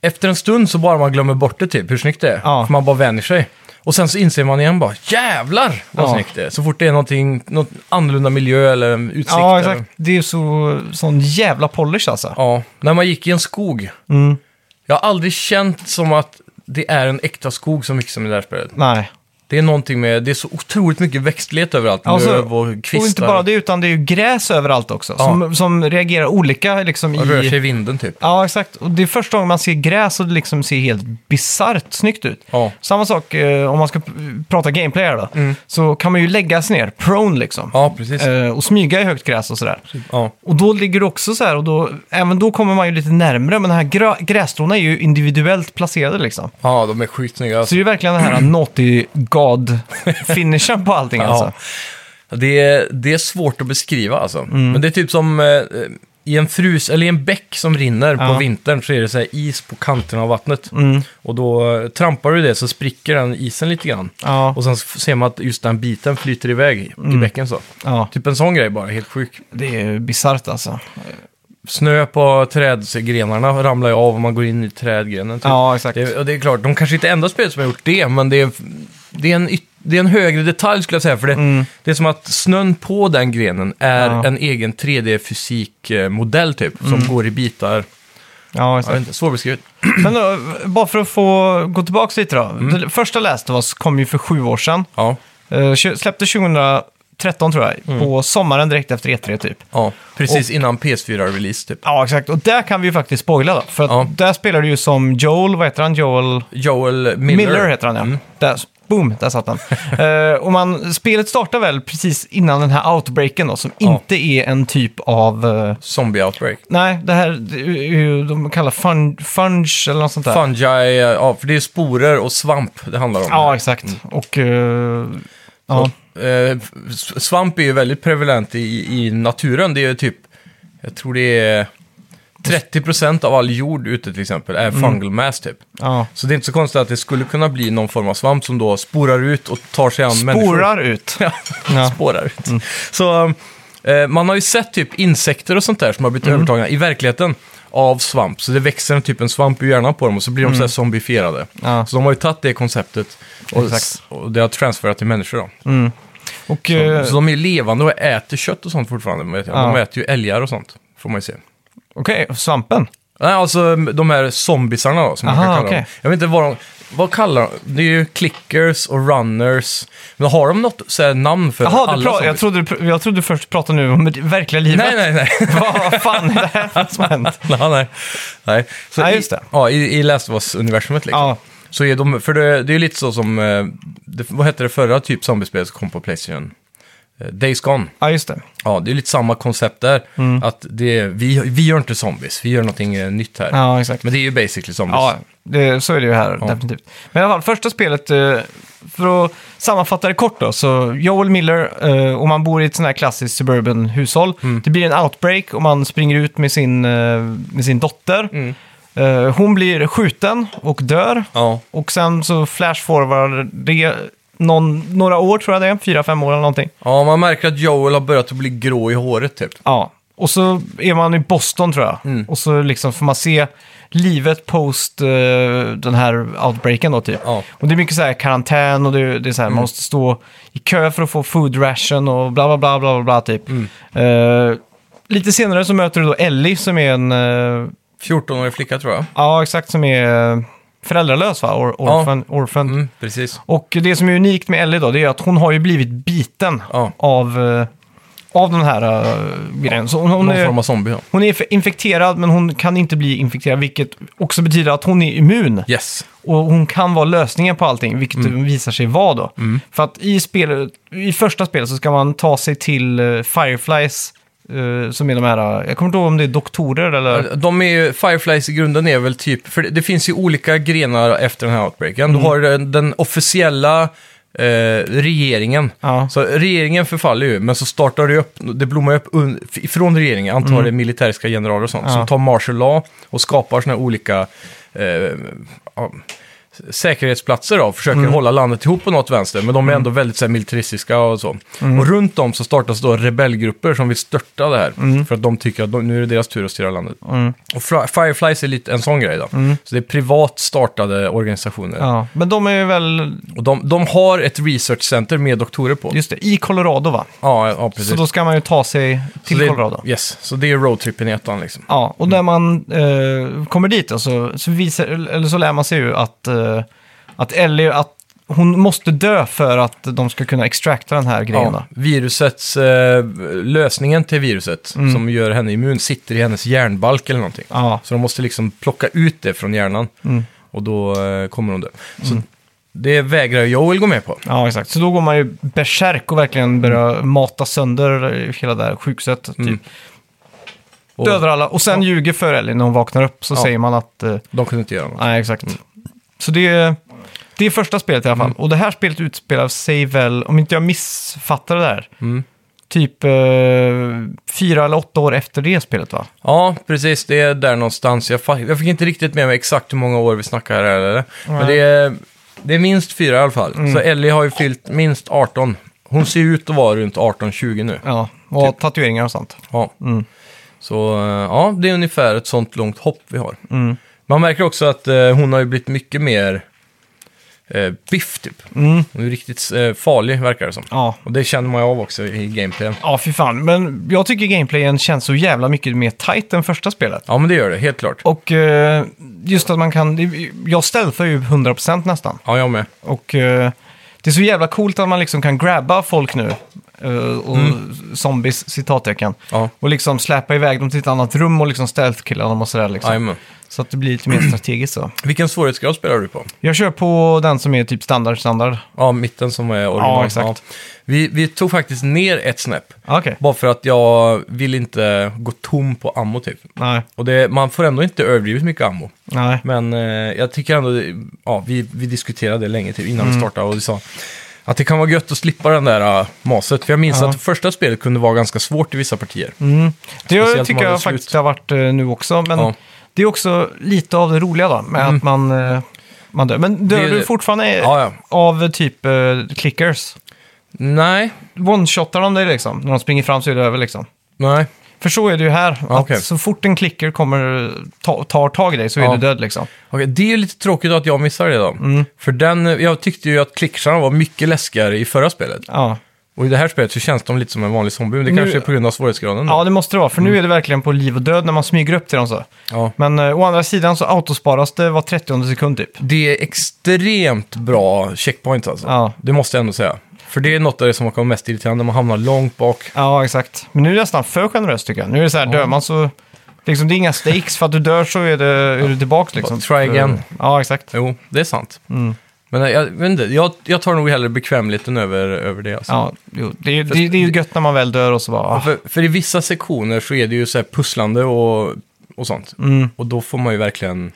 S2: efter en stund så bara man glömmer bort det typ, hur snyggt det är.
S1: Ja.
S2: För man bara vänjer sig. Och sen så inser man igen bara, jävlar vad
S1: Ja.
S2: snyggt det är. Så fort det är någonting, något annorlunda miljö eller en utsikt.
S1: ja,
S2: eller-
S1: exakt. Det är så, sån jävla polish alltså.
S2: Ja, när man gick i en skog.
S1: Mm.
S2: Jag har aldrig känt som att det är en äkta skog så mycket som i det här spelet.
S1: Nej.
S2: Det är någonting med, det är så otroligt mycket växtlighet överallt.
S1: Ja, alltså, och så-
S2: Löv och kvistar.
S1: Och inte bara det, utan det är ju gräs överallt också.
S2: Ja.
S1: Som, som reagerar olika liksom
S2: Och rör sig
S1: i...
S2: i vinden typ.
S1: Ja, exakt. Och det är första gången man ser gräs och det liksom ser helt bisarrt snyggt ut.
S2: Ja. Mm.
S1: Samma sak eh, om man ska p- prata gameplay här då. Så kan man ju lägga sig ner, prone liksom.
S2: Ja, precis.
S1: Eh, och smyga i högt gräs och sådär.
S2: Ja.
S1: Och då ligger du också så här, och då, även då kommer man ju lite närmre, men den här grä, grässtråna är ju individuellt placerade liksom.
S2: ja, de är skitsnygga.
S1: Så det är ju verkligen den här naughty god-finishen på allting alltså.
S2: Ja. Det, är, det är svårt att beskriva alltså.
S1: Mm.
S2: Men det är typ som eh, i en frus, eller i en bäck som rinner
S1: Ja. Mm.
S2: på vintern så är det så här is på kanterna av vattnet. Och då eh, trampar du det så spricker den isen lite grann.
S1: Ja, Mm.
S2: Och sen så ser man att just den biten flyter iväg i- i bäcken så.
S1: ja.
S2: Typ en sån grej bara, helt sjuk.
S1: det är ju bisarrt alltså.
S2: Snö på trädgrenarna ramlar ju av om man går in i trädgrenen. Typ.
S1: Ja, exakt.
S2: Det, och det är klart, de kanske inte är enda spelet som har gjort det, men det är, det är, en, yt- det är en högre detalj skulle jag säga. För det, det är som att snön på den grenen är
S1: Mm. Ja.
S2: en egen 3D-fysikmodell typ, som går i bitar.
S1: Ja,
S2: Jag vet
S1: exakt.
S2: inte, svårbeskrivet.
S1: Men då, bara för att få gå tillbaka lite då.
S2: Mm.
S1: Det första Last of Us kom ju för sju år sedan.
S2: Ja,
S1: Eh, tjo- släppte 2013 tror jag,
S2: Mm.
S1: på sommaren direkt efter E3 typ.
S2: ja. precis innan PS4-release typ.
S1: Ja, exakt. Och där kan vi ju faktiskt spoila då. För att
S2: Ja.
S1: där spelar du ju som Joel, vad heter han? Joel
S2: Joel Miller. Mm.
S1: Miller, heter han ja. Där, boom, där satt han. Eh, och man, spelet startar väl precis innan den här outbreaken då, som inte är en typ av... eh,
S2: Zombie Outbreak.
S1: nej, det här, det är ju- de kallar fun, funge eller något sånt där.
S2: Fungi, ja, för det är sporer och svamp det handlar om.
S1: Ja, exakt.
S2: Mm.
S1: Och... eh, ja.
S2: Eh, s- svamp är ju väldigt prevalent i, i naturen. Det är ju typ, jag tror det är 30% av all jord ute till exempel är fungal mass typ.
S1: Mm. ja.
S2: Så det är inte så konstigt att det skulle kunna bli någon form av svamp som då sporar ut och tar sig an människor.
S1: Sporar ut.
S2: Ja,
S1: Ja. Mm.
S2: spårar ut. Så eh, man har ju sett typ insekter och sånt där som har
S1: Mm.
S2: blivit övertagna i verkligheten av svamp. Så det växer en typ en svamp i hjärnan på dem och så blir de så här zombifierade.
S1: Mm. Ja.
S2: Så de har ju tagit det konceptet och,
S1: Exakt.
S2: och det har transferat till människor då. Mm.
S1: Och, eh,
S2: Så de är ju levande och äter kött och sånt fortfarande. Vet jag.
S1: Ja.
S2: De äter ju älgar och sånt, får man ju se.
S1: Okej, svampen.
S2: Nej, alltså de här zombisarna då, som man
S1: Aha,
S2: kan kalla dem.
S1: okej.
S2: Jag vet inte vad de... Vad kallar de? Det är ju clickers och runners. Men har de något så här, namn för
S1: Jaha, du
S2: alla
S1: pra- jag, trodde du pr- jag trodde du först pratade nu om det verkliga livet.
S2: Nej, nej, nej.
S1: Vad fan är det här som har hänt?
S2: nej, nej. nej. Så
S1: Nej,
S2: i-
S1: just det.
S2: Ja, i, i Last of Us-universumet liksom.
S1: Ja,
S2: Så är de, för det, det är ju lite så som, eh, det, vad hette det förra typ zombiespel som kom på Playstation? Eh, Days Gone.
S1: ja just det.
S2: Ja, det är lite samma koncept där.
S1: Mm.
S2: Att det, är- vi, vi gör inte zombies, vi gör någonting eh, nytt här.
S1: Ja, exakt.
S2: Men det är ju basically zombies.
S1: Ja, det, så är det ju här, definitivt. Men i alla fall, första spelet, eh, för att sammanfatta det kort då, så Joel Miller, eh, och man bor i ett sånt här klassiskt suburban hushåll. Det blir en outbreak och man springer ut med sin, eh, med sin dotter. Eh, Hon blir skjuten och dör.
S2: Ja.
S1: Och sen så flashforwardar det någon, några år tror jag det är, fyra, fem år eller någonting.
S2: Ja, man märker att Joel har börjat att bli grå i håret typ.
S1: Ja, och så är man i Boston tror jag. Och så liksom får man se livet post eh, den här outbreaken då typ.
S2: Ja.
S1: Och det är mycket så här karantän och det, det är så
S2: Mm.
S1: här, man måste stå i kö för att få food ration och bla bla bla bla bla, bla typ.
S2: Mm.
S1: Eh, lite senare så möter du då Ellie som är en, eh,
S2: 14-årig flicka tror jag.
S1: ja exakt som är eh, föräldralös va? Or,
S2: Ja.
S1: orphan, orphan.
S2: Mm, precis.
S1: Och det som är unikt med Ellie då, det är att hon har ju blivit biten
S2: Ja.
S1: av, eh, av den här uh, grejen. Så hon, hon
S2: Någon
S1: är,
S2: form av zombie ja.
S1: hon är inf- infekterad, men hon kan inte bli infekterad, vilket också betyder att hon är immun.
S2: Yes.
S1: Och hon kan vara lösningen på allting, vilket
S2: Mm.
S1: visar sig vara då. För att i, spelet, i första spelet så ska man ta sig till eh, Fireflies, eh, som är de här, eh, jag kommer inte ihåg om det är doktorer eller...
S2: De är ju, Fireflies i grunden är väl typ, för det, det finns ju olika grenar efter den här outbreaken.
S1: Mm.
S2: Du har den, den officiella eh, regeringen.
S1: Ja.
S2: Så regeringen förfaller ju, men så startar det upp, det blommar upp un, ifrån regeringen, antar det är militäriska generaler och sånt,
S1: Mm. Ja.
S2: som tar martial law och skapar såna här olika eh, ja, säkerhetsplatser då, och försöker
S1: Mm.
S2: hålla landet ihop på något vänster, men de är ändå väldigt så här, militaristiska och så.
S1: Mm.
S2: Och runt om så startas då rebellgrupper som vill störta det här,
S1: Mm.
S2: för att de tycker att de, nu är det deras tur att styra landet. Och Fri- Fireflies är lite en sån grej då. Så det är privat startade organisationer.
S1: Mm. Ja, men de är ju väl,
S2: Och de, de har ett research center med doktorer på.
S1: just det, i Colorado va?
S2: Ja, ja, precis.
S1: Så då ska man ju ta sig till
S2: Så det,
S1: Colorado.
S2: Yes, så det är roadtrippen i ettan liksom.
S1: Ja, och när man eh, kommer dit då, så, så, visar, eller så lär man sig ju att, eh, att Ellie, att hon måste dö för att de ska kunna extrakta den här grejen.
S2: Ja,
S1: då.
S2: virusets, eh, lösningen till viruset som gör henne immun sitter i hennes hjärnbalk eller någonting.
S1: Mm. Ja. Mm.
S2: Så de måste liksom plocka ut det från hjärnan och då eh, kommer hon dö. Så det vägrar Joel gå med på.
S1: ja, exakt. Så då går man ju bärsärk och verkligen börjar mata sönder hela det här sjukhuset. Typ.
S2: Och
S1: Dödar alla och sen ljuger för Ellie när hon vaknar upp så
S2: Ja.
S1: säger man att... Eh,
S2: De kunde inte göra något.
S1: nej, exakt. Så det är, det är första spelet i alla fall. Och det här spelet utspelar sig väl, om inte jag missfattar det där, typ eh, fyra eller åtta år efter det spelet va?
S2: Ja, precis. Det är där någonstans. Jag, fa- jag fick inte riktigt med mig exakt hur många år vi snackar här. Eller? Men det är, det är minst fyra i alla fall.
S1: Mm.
S2: Så Ellie har ju fyllt minst 18. Hon ser ut att vara runt 18-20 nu.
S1: Ja, typ. och tatueringar och sånt.
S2: Ja.
S1: Mm.
S2: Så eh, ja, det är ungefär ett sånt långt hopp vi har.
S1: Mm.
S2: Man märker också att eh, hon har ju blivit mycket mer eh, biff typ. Hon är riktigt eh, farlig verkar det som.
S1: Mm. Ja.
S2: Och det känner man ju av också i gameplayen.
S1: Ja, fy fan. Men jag tycker gameplayen känns så jävla mycket mer tight än första spelet.
S2: Ja, men det gör det, helt klart.
S1: Och eh, just att man kan... det- Jag stealthar ju 100% nästan.
S2: Ja, jag med.
S1: Och eh, det är så jävla coolt att man liksom kan grabba folk nu. eh, och zombies, citattecken.
S2: Mm. Ja.
S1: Och liksom släpa iväg dem till ett annat rum och liksom stealth-killa dem och sådär liksom.
S2: Jajamän.
S1: Så att det blir lite mer strategiskt så.
S2: Vilken svårighetsgrad spelar du på?
S1: Jag kör på den som är typ standard, standard.
S2: Ja, mitten som är original.
S1: Ja, exakt.
S2: Vi, vi tog faktiskt ner ett snäpp.
S1: Ah, Okej.
S2: Bara för att jag vill inte gå tom på ammo typ.
S1: Nej,
S2: Och det, man får ändå inte överdrivet mycket ammo.
S1: nej.
S2: Men eh, jag tycker ändå, ja, vi, vi diskuterade det länge typ, innan
S1: Mm.
S2: vi startade och vi sa att det kan vara gött att slippa den där uh, maset. För jag minns
S1: Ja. Mm.
S2: att första spelet kunde vara ganska svårt i vissa partier.
S1: Det
S2: Speciellt om
S1: tycker
S2: man är
S1: jag
S2: slut.
S1: faktiskt har varit eh, nu också, men
S2: Ja. Mm.
S1: det är också lite av det roliga då, med att man, eh, man dör. Men dör
S2: Det-
S1: du fortfarande eh,
S2: Ja, ja.
S1: av eh, typ eh, clickers?
S2: Nej,
S1: One-shotar de dig liksom? När de springer fram så är det över liksom.
S2: nej.
S1: För så är det ju här,
S2: Okej.
S1: att så fort en klicker kommer ta, tar tag i dig så är
S2: Ja.
S1: du död liksom.
S2: Okej, det är ju lite tråkigt att
S1: Mm.
S2: eh, jag missar det då. För den, jag tyckte ju att klicksarna var mycket läskigare i förra spelet.
S1: Ja,
S2: Och i det här spelet så känns de lite som en vanlig zombie, men det
S1: Nu-
S2: kanske är på grund av svårighetsgraden. då.
S1: Ja, det måste det vara, för
S2: Mm.
S1: nu är det verkligen på liv och död när man smyger upp till dem så.
S2: Ja.
S1: Men eh, å andra sidan så autosparas det var 30 sekund typ.
S2: Det är extremt bra checkpoints alltså.
S1: Ja.
S2: Det måste jag ändå säga. För det är något av det som kan vara mest irriterande, när man hamnar långt bak.
S1: Ja, exakt. Men nu är det nästan för generöst tycker jag. Nu är det så här, dör man så... Liksom, det är inga stakes, för att du dör så är, det, är du tillbaka liksom.
S2: Try again.
S1: Ja, exakt.
S2: Jo, det är sant.
S1: Mm.
S2: Men jag, jag, vet inte, jag, jag tar nog hellre bekvämligheten över, över det. Alltså.
S1: Ja, jo, det, är- det, det är ju gött när man väl dör och så bara... Ah.
S2: För, för i vissa sektioner så är det ju så här pusslande och, och sånt.
S1: Mm.
S2: Och då får man ju verkligen...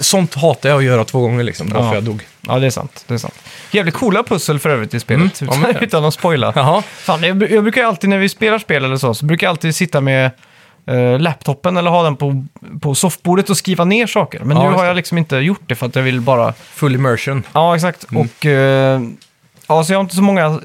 S2: Sånt hatar jag att göra två gånger liksom, bara
S1: Ja.
S2: för jag dog.
S1: Ja, det är sant. Det är sant. Jävligt coola pussel för övrigt i spelet,
S2: Mm, ja, men det är det.
S1: utan att spoila.
S2: Jaha.
S1: Fan, jag, bru- jag brukar ju alltid när vi spelar spel eller så, så brukar jag alltid sitta med eh, laptopen eller ha den på, på soffbordet och skriva ner saker. Men
S2: Ja,
S1: nu
S2: just
S1: har
S2: det.
S1: jag liksom inte gjort det för att jag vill bara...
S2: Full immersion.
S1: Ja, exakt.
S2: mm.
S1: Och... Eh, ja, så jag har inte så många eh,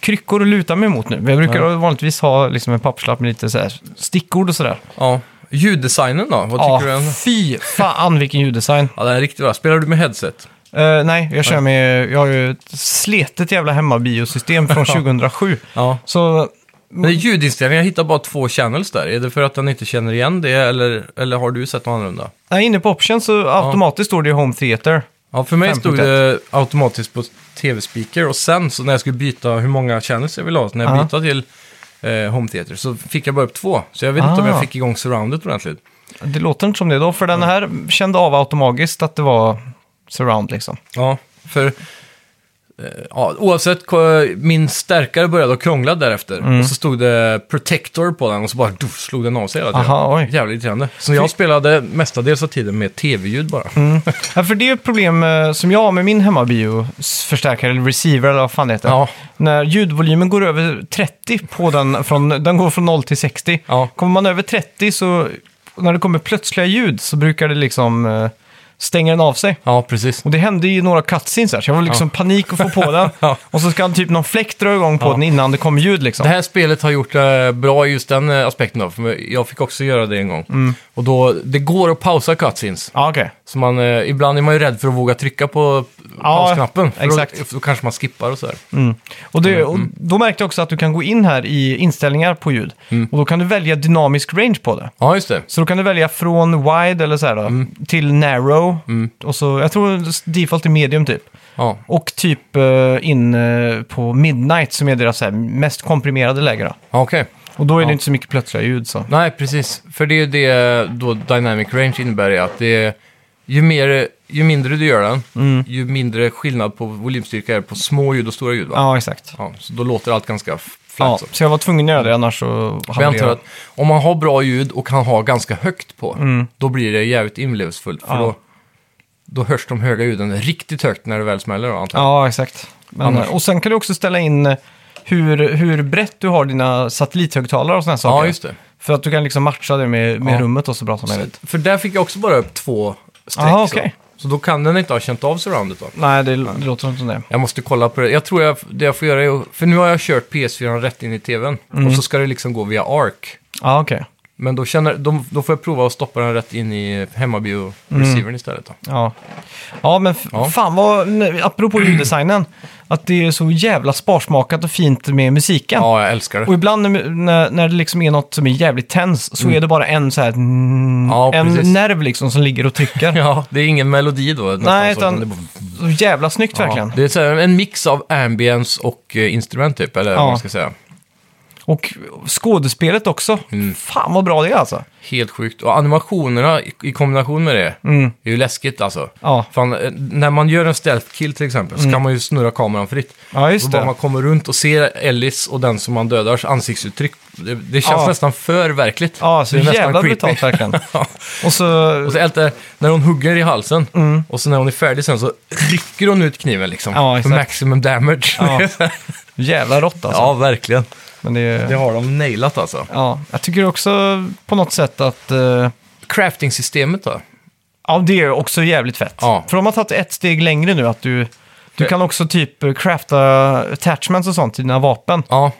S1: kryckor att luta mig mot nu. Men jag brukar vanligtvis ha liksom en papperslapp med lite så här stickord och sådär.
S2: Ja. Ljuddesignen då? Vad
S1: Ja,
S2: tycker du? om den?
S1: fy fan vilken ljuddesign.
S2: Ja, den är riktigt bra. Spelar du med headset?
S1: Eh, nej, jag kör med... Jag har ju ett sletet jävla hemmabiosystem från 2007.
S2: Ja.
S1: Så
S2: Men det är ljudinställningar, jag hittar bara två channels där. Är det för att den inte känner igen det, eller, eller har du sett något annorlunda?
S1: Nej, inne på options så automatiskt står det ju Home Theater.
S2: Ja, för mig stod
S1: 5.1.
S2: det automatiskt på tv-speaker och sen så när jag skulle byta hur många channels jag ville ha, så när jag
S1: Ja.
S2: bytte till eh, Home Theater så fick jag bara upp två. Så jag vet inte om
S1: Ah.
S2: jag fick igång surroundet ordentligt.
S1: Det låter inte som det då, för
S2: Mm.
S1: den här kände av automatiskt att det var surround liksom.
S2: Ja, för eh, ja, oavsett, ko- min stärkare började att krångla därefter.
S1: Mm.
S2: Och så stod det Protector på den och så bara duff, slog den av sig hela tiden.
S1: Aha, oj.
S2: Jävligt irriterande. Så jag spelade mestadels av tiden med tv-ljud bara.
S1: Mm. Ja, för det är ju ett problem eh, som jag har med min hemmabio-förstärkare, eller receiver eller vad fan det heter.
S2: Ja.
S1: När ljudvolymen går över 30 på den, från, den går från 0 till 60.
S2: Ja.
S1: Kommer man över 30 så, när det kommer plötsliga ljud så brukar det liksom eh, stänga den av sig.
S2: Ja, precis.
S1: Och det hände ju några cutscenes här, så jag var liksom panik att få på den.
S2: Ja.
S1: Och så ska typ någon fläkt dra igång på den innan det kommer ljud liksom.
S2: Det här spelet har gjort eh, bra just den eh, aspekten av, för jag fick också göra det en gång.
S1: Mm.
S2: Och då, det går att pausa cutscenes.
S1: Ja, okej.
S2: Så man, eh, ibland är man ju rädd för att våga trycka på pausknappen. För Då,
S1: exakt.
S2: för då kanske man skippar och sådär.
S1: Mm. Och,
S2: Mm.
S1: det, och då märkte jag också att du kan gå in här i inställningar på ljud.
S2: Mm.
S1: Och då kan du välja dynamisk range på det.
S2: Ja, just det.
S1: Så då kan du välja från wide eller så här då,
S2: Mm.
S1: till narrow. Och så, jag tror default är medium typ.
S2: Ja.
S1: Och typ eh, in eh, på midnight som är deras så här, mest komprimerade läge. Då.
S2: Ja, Okej.
S1: Och då är det inte så mycket plötsliga ljud. Så.
S2: Nej, precis. För det är ju det då dynamic range innebär, är att det är, ju, mer, ju mindre du gör den,
S1: Mm.
S2: ju mindre skillnad på volymstyrka är det på små ljud och stora ljud. Va?
S1: Ja, exakt.
S2: Ja, så då låter allt ganska f-
S1: Ja,
S2: flat. så.
S1: så jag var tvungen att göra det, annars så
S2: Men jag
S1: det-
S2: antar att om man har bra ljud och kan ha ganska högt på, då blir det jävligt inlevelsefullt. För
S1: Mm. Ja.
S2: då, då hörs de höga ljuden riktigt högt när det väl smäller. Då, antar jag.
S1: Ja, exakt. Men,
S2: Annars-
S1: och sen kan du också ställa in eh, hur, hur brett du har dina satellithögtalare och sådana saker.
S2: ja, just det.
S1: För att du kan liksom matcha det med, med
S2: Ja.
S1: rummet och så bra som möjligt.
S2: För där fick jag också bara upp två streck.
S1: Aha,
S2: så.
S1: okej.
S2: så då kan den inte ha känt av surroundet då.
S1: Nej, det, det låter inte som det.
S2: Jag måste kolla på det. Jag tror jag, det jag får göra är, att- för nu har jag kört PS4 rätt in i tvn.
S1: Mm.
S2: Och så ska det liksom gå via ARC.
S1: Ja, okej.
S2: Men då, känner, de, då får jag prova att stoppa den rätt in i hemmabio-receivern istället. Då.
S1: Mm. Ja. ja, men f-
S2: Ja.
S1: fan vad... nej, Apropå ljuddesignen. Att det är så jävla sparsmakat och fint med musiken.
S2: Ja, jag älskar det.
S1: Och ibland när, när, när det liksom är något som är jävligt tens så är det bara en så här... mm,
S2: Ja,
S1: en
S2: precis.
S1: nerv liksom som ligger och trycker.
S2: Ja, det är ingen melodi då. nästan
S1: Nej,
S2: så,
S1: utan-
S2: det är bara-
S1: Så jävla snyggt verkligen.
S2: Ja, det är så här, en mix av ambience och eh, instrument typ, eller
S1: Ja.
S2: vad man ska säga.
S1: Och skådespelet också.
S2: Mm.
S1: Fan vad bra det är alltså.
S2: Helt sjukt. Och animationerna i- i kombination med det är ju läskigt alltså.
S1: Mm. Ja. Mm.
S2: Fan, eh, när man gör en stealth kill till exempel så kan man ju snurra kameran fritt.
S1: Ja, just
S2: och
S1: det.
S2: bara man kommer runt och ser Ellis och den som man dödars ansiktsuttryck. Det, det känns
S1: Ja.
S2: nästan för verkligt.
S1: Ja, så
S2: det nästan
S1: jävla
S2: creepy.
S1: brutalt verkligen.
S2: Ja.
S1: Och så...
S2: och så allt det, när hon hugger i halsen och så när hon är färdig sen så rycker hon ut kniven liksom.
S1: Mm. Ja,
S2: för
S1: exakt.
S2: maximum damage.
S1: Ja. Jävla rått alltså.
S2: ja verkligen.
S1: Men det, är-
S2: Det har de nailat alltså.
S1: ja, jag tycker också på något sätt att... eh,
S2: Crafting-systemet då?
S1: ja, det är också jävligt fett.
S2: Ja.
S1: För de har tagit ett steg längre nu att du... Du
S2: Det-
S1: kan också typ eh, crafta attachments och sånt till dina vapen.
S2: Ja,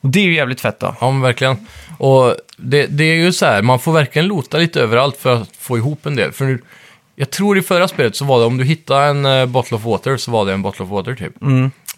S1: Och det är ju jävligt fett då.
S2: ja men verkligen. Och det, det är ju så här, man får verkligen lota lite överallt för att få ihop en del. För nu, jag tror i förra spelet så var det, om du hittade en eh, bottle of water så var det en bottle of water typ.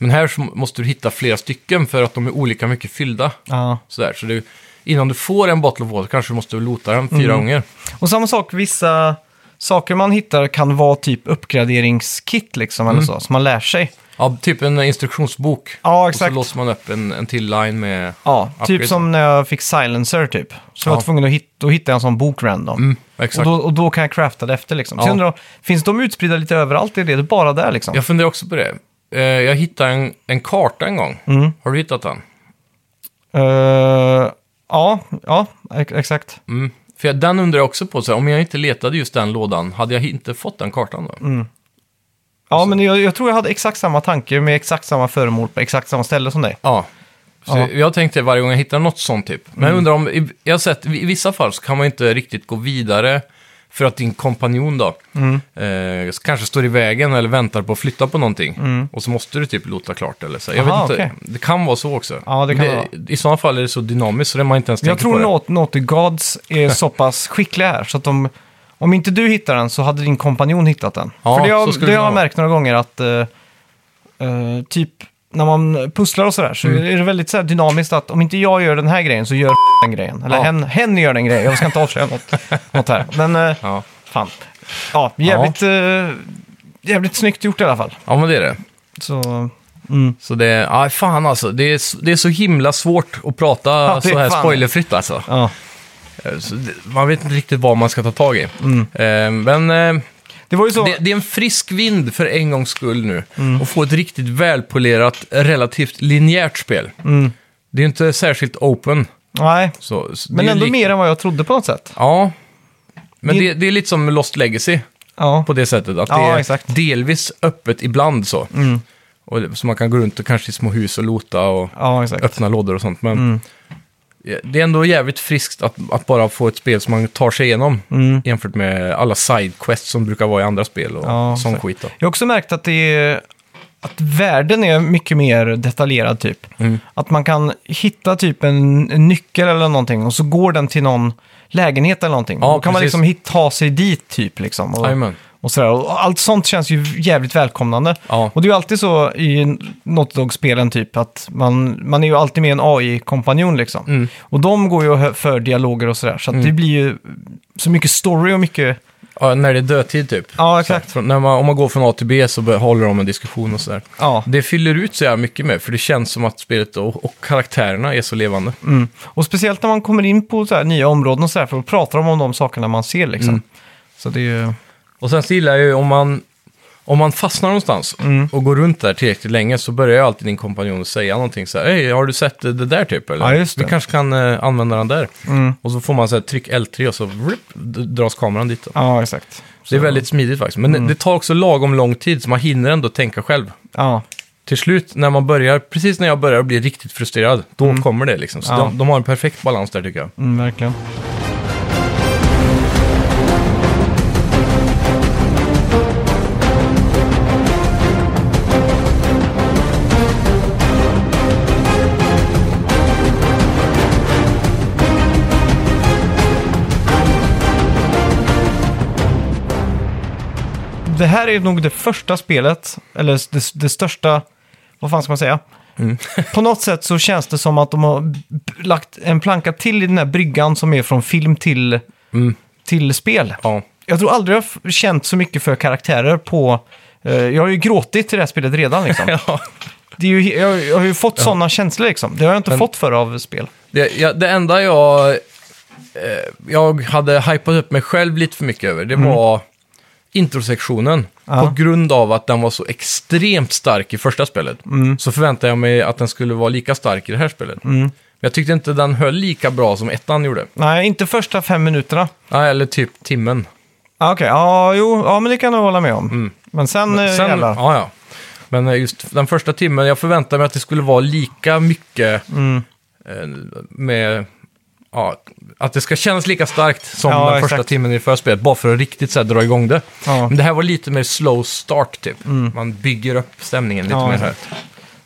S2: Men här så måste du hitta flera stycken för att de är olika mycket fyllda.
S1: Ja.
S2: Sådär. Så du, innan du får en bottle of water kanske du måste lota den fyra gånger.
S1: Och samma sak, vissa saker man hittar kan vara typ uppgraderingskit liksom,
S2: Mm.
S1: eller så, som man lär sig.
S2: Ja, typ en instruktionsbok.
S1: Ja,
S2: Och
S1: exakt.
S2: så låser man upp en, en till line med...
S1: Ja,
S2: upgrades.
S1: typ som när jag fick Silencer typ. Så jag var
S2: Ja.
S1: tvungen att hitta, att hitta en sån bok random.
S2: Mm,
S1: Och
S2: exakt.
S1: då, och då kan jag crafta det efter liksom. Så
S2: Ja.
S1: jag undrar, om- finns de utspridda lite överallt? Är det bara där liksom?
S2: Jag funderar också på det. Eh, jag hittade en, en karta en gång.
S1: Mm.
S2: Har du hittat den?
S1: Eh, ja, ja, ex- exakt.
S2: Mm. För jag, den undrar jag också på, så här, om jag inte letade just den lådan, hade jag inte fått den kartan då?
S1: Mm. Ja, men jag, jag tror jag hade exakt samma tanke med exakt samma föremål på exakt samma ställe som dig.
S2: Ja. Så
S1: Ja. Mm.
S2: Jag tänkte varje gång jag hittar något sånt typ. Men jag undrar om, i- jag har sett i vissa fall så kan man inte riktigt gå vidare för att din kompanjon då
S1: Mm.
S2: eh, kanske står i vägen eller väntar på att flytta på någonting. Och så måste du typ lota klart eller så. Jag
S1: Mm. Aha,
S2: vet inte,
S1: okej.
S2: det kan vara så också.
S1: Ja, det kan det vara.
S2: I sådana fall är det så dynamiskt så det man inte ens
S1: Jag
S2: tänker på
S1: tror
S2: det.
S1: Naut- Naughty Gods är så pass skickliga här så att de, om inte du hittar den så hade din kompanjon hittat den.
S2: Ja,
S1: För det,
S2: så
S1: jag,
S2: skulle
S1: det
S2: det
S1: jag har
S2: vara.
S1: märkt några gånger att eh, eh, typ när man pusslar och sådär så
S2: Mm.
S1: är det väldigt så här dynamiskt att om inte jag gör den här grejen så gör den grejen. Eller
S2: Ja.
S1: hen, hen gör den grejen. Jag ska inte avslöja något, något här. Men eh,
S2: Ja.
S1: fan. Ja, jävligt, eh, jävligt snyggt gjort i alla fall.
S2: ja, men det är det.
S1: Så,
S2: Så det är, aj, fan alltså, det är, s- det är så himla svårt att prata
S1: Ja, det är
S2: så här
S1: fan.
S2: spoilerfritt alltså.
S1: ja.
S2: Så det- Man vet inte riktigt vad man ska ta tag i. Eh, men eh,
S1: Det var ju Mm. så. Mm.
S2: det, det är en frisk vind för en gångs skull nu. Och få ett riktigt välpolerat, relativt linjärt spel.
S1: Mm.
S2: Det är ju inte särskilt open.
S1: Nej,
S2: Så, så
S1: men
S2: det är
S1: ändå
S2: lik-
S1: mer än vad jag trodde på något sätt.
S2: Ja. Men
S1: Min-
S2: det, det är lite som Lost Legacy
S1: Ja.
S2: på det sättet. Att
S1: Ja,
S2: det är
S1: exakt. Mm.
S2: delvis öppet ibland så. Och, det- så man kan gå runt och kanske i små hus och lota och
S1: Ja, exakt.
S2: öppna lådor och sånt. Men
S1: Mm.
S2: det är ändå jävligt friskt att, att bara få ett spel som man tar sig igenom.
S1: Mm.
S2: Jämfört med alla sidequests som brukar vara i andra spel och
S1: Ja,
S2: sån
S1: exakt.
S2: skit. Då.
S1: Jag har också märkt att, det är, att världen är mycket mer detaljerad typ.
S2: Mm.
S1: Att man kan hitta typ en, en nyckel eller någonting och så går den till någon lägenhet eller någonting.
S2: Ja,
S1: Då kan man
S2: precis.
S1: liksom hit, ta sig dit typ liksom. Och,
S2: Jajamän.
S1: och, sådär. och allt sånt känns ju jävligt välkomnande.
S2: Ja.
S1: Och det är ju alltid så i Naughty Dog-spelen typ att man, man är ju alltid med en AI-kompanjon liksom.
S2: Mm.
S1: Och de går ju hö- för dialoger och sådär. Så att det blir ju så mycket story och mycket...
S2: Ja, när det är dödtid typ.
S1: Ja, exakt.
S2: Så här, från- när man, om man går från A till B så bör- håller de en diskussion och sådär.
S1: Ja.
S2: Det fyller ut så jävla mycket med, för det känns som att spelet och, och karaktärerna är så levande.
S1: Och speciellt när man kommer in på så här nya områden och så här, för då pratar de om de sakerna man ser liksom. Så det är ju...
S2: Och sen så gillar jag ju om man, om man fastnar någonstans och går runt där tillräckligt länge så börjar ju alltid din kompanjon att säga någonting så här. Hej, har du sett det Mm. där typ? Eller?
S1: Ja, just det.
S2: Vi kanske kan eh, använda den där. Och så får man så här, tryck L3 och så vrip, d- dras kameran dit. Då. Mm.
S1: Ja, exakt.
S2: Det är väldigt smidigt faktiskt. Men det- det tar också lagom lång tid så man hinner ändå tänka själv.
S1: Ja,
S2: Till slut, när man börjar, precis när jag börjar bli riktigt frustrerad, då kommer det liksom. Så
S1: Ja.
S2: de, de har en perfekt balans där tycker jag.
S1: mm, verkligen. Det här är nog det första spelet, eller det, det största, vad fan ska man säga? Mm. På något sätt så känns det som att de har b- lagt en planka till i den här bryggan som är från film till, till spel.
S2: Ja.
S1: Jag tror aldrig jag har f- känt så mycket för karaktärer på... eh, jag har ju gråtit till det här spelet redan liksom. det är ju, jag, jag har ju fått sådana känslor liksom. Det har jag inte fått för av spel.
S2: Det, jag, det enda jag, eh, jag hade hypat upp mig själv lite för mycket över, det var introsektionen.
S1: Ja.
S2: På grund av att den var så extremt stark i första spelet så förväntade jag mig att den skulle vara lika stark i det här spelet. Men jag tyckte inte den höll lika bra som ettan gjorde.
S1: Nej, inte första fem minuterna.
S2: Ja, Eller typ timmen.
S1: Ah, Okej, ja, jo, ja, men det kan jag hålla med om. Men sen, eh,
S2: Mm. Sen,
S1: jävlar.
S2: ja, ja. Men eh, just den första timmen, jag förväntade mig att det skulle vara lika mycket
S1: Mm.
S2: eh, med... Ja, att det ska kännas lika starkt som
S1: Ja,
S2: den
S1: exakt.
S2: första timmen i det förra spelet, bara för att riktigt så här, dra igång det.
S1: Ja. Mm.
S2: Men det här var lite mer slow start, typ. Man bygger upp stämningen lite
S1: Ja,
S2: mer här.
S1: exakt.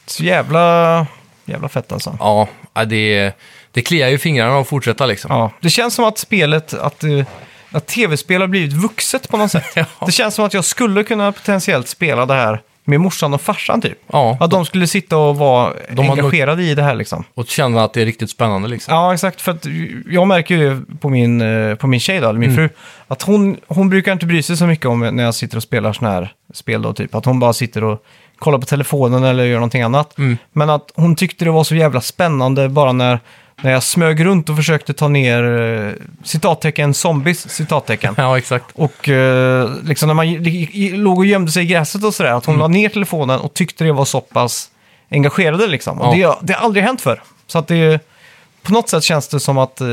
S1: Så jävla, jävla fett alltså.
S2: Ja, ja, det, det kliar ju fingrarna att fortsätta liksom.
S1: Ja, det känns som att spelet, att, eh, att tv-spel har blivit vuxet på något sätt.
S2: Ja.
S1: Det känns som att jag skulle kunna potentiellt spela det här med morsan och farsan typ.
S2: Ja.
S1: Att de skulle sitta och vara
S2: De har nog-
S1: engagerade i det här liksom.
S2: Och känna att det är riktigt spännande liksom.
S1: Ja, exakt. För att jag märker ju det på min, eh, på min tjej, då, eller min fru, att hon, hon brukar inte bry sig så mycket om när jag sitter och spelar sådana här spel. Då, typ. Att hon bara sitter och kollar på telefonen eller gör någonting annat. Men att hon tyckte det var så jävla spännande bara när, när jag smög runt och försökte ta ner eh, citattecken zombies, citattecken.
S2: Ja, exakt.
S1: Och eh, liksom när man i- i- låg och gömde sig i gräset och sådär, att hon la ner telefonen och tyckte det var så pass engagerade liksom. Och
S2: Ja.
S1: det, det har aldrig hänt för. Så att det, på något sätt känns det som att, eh,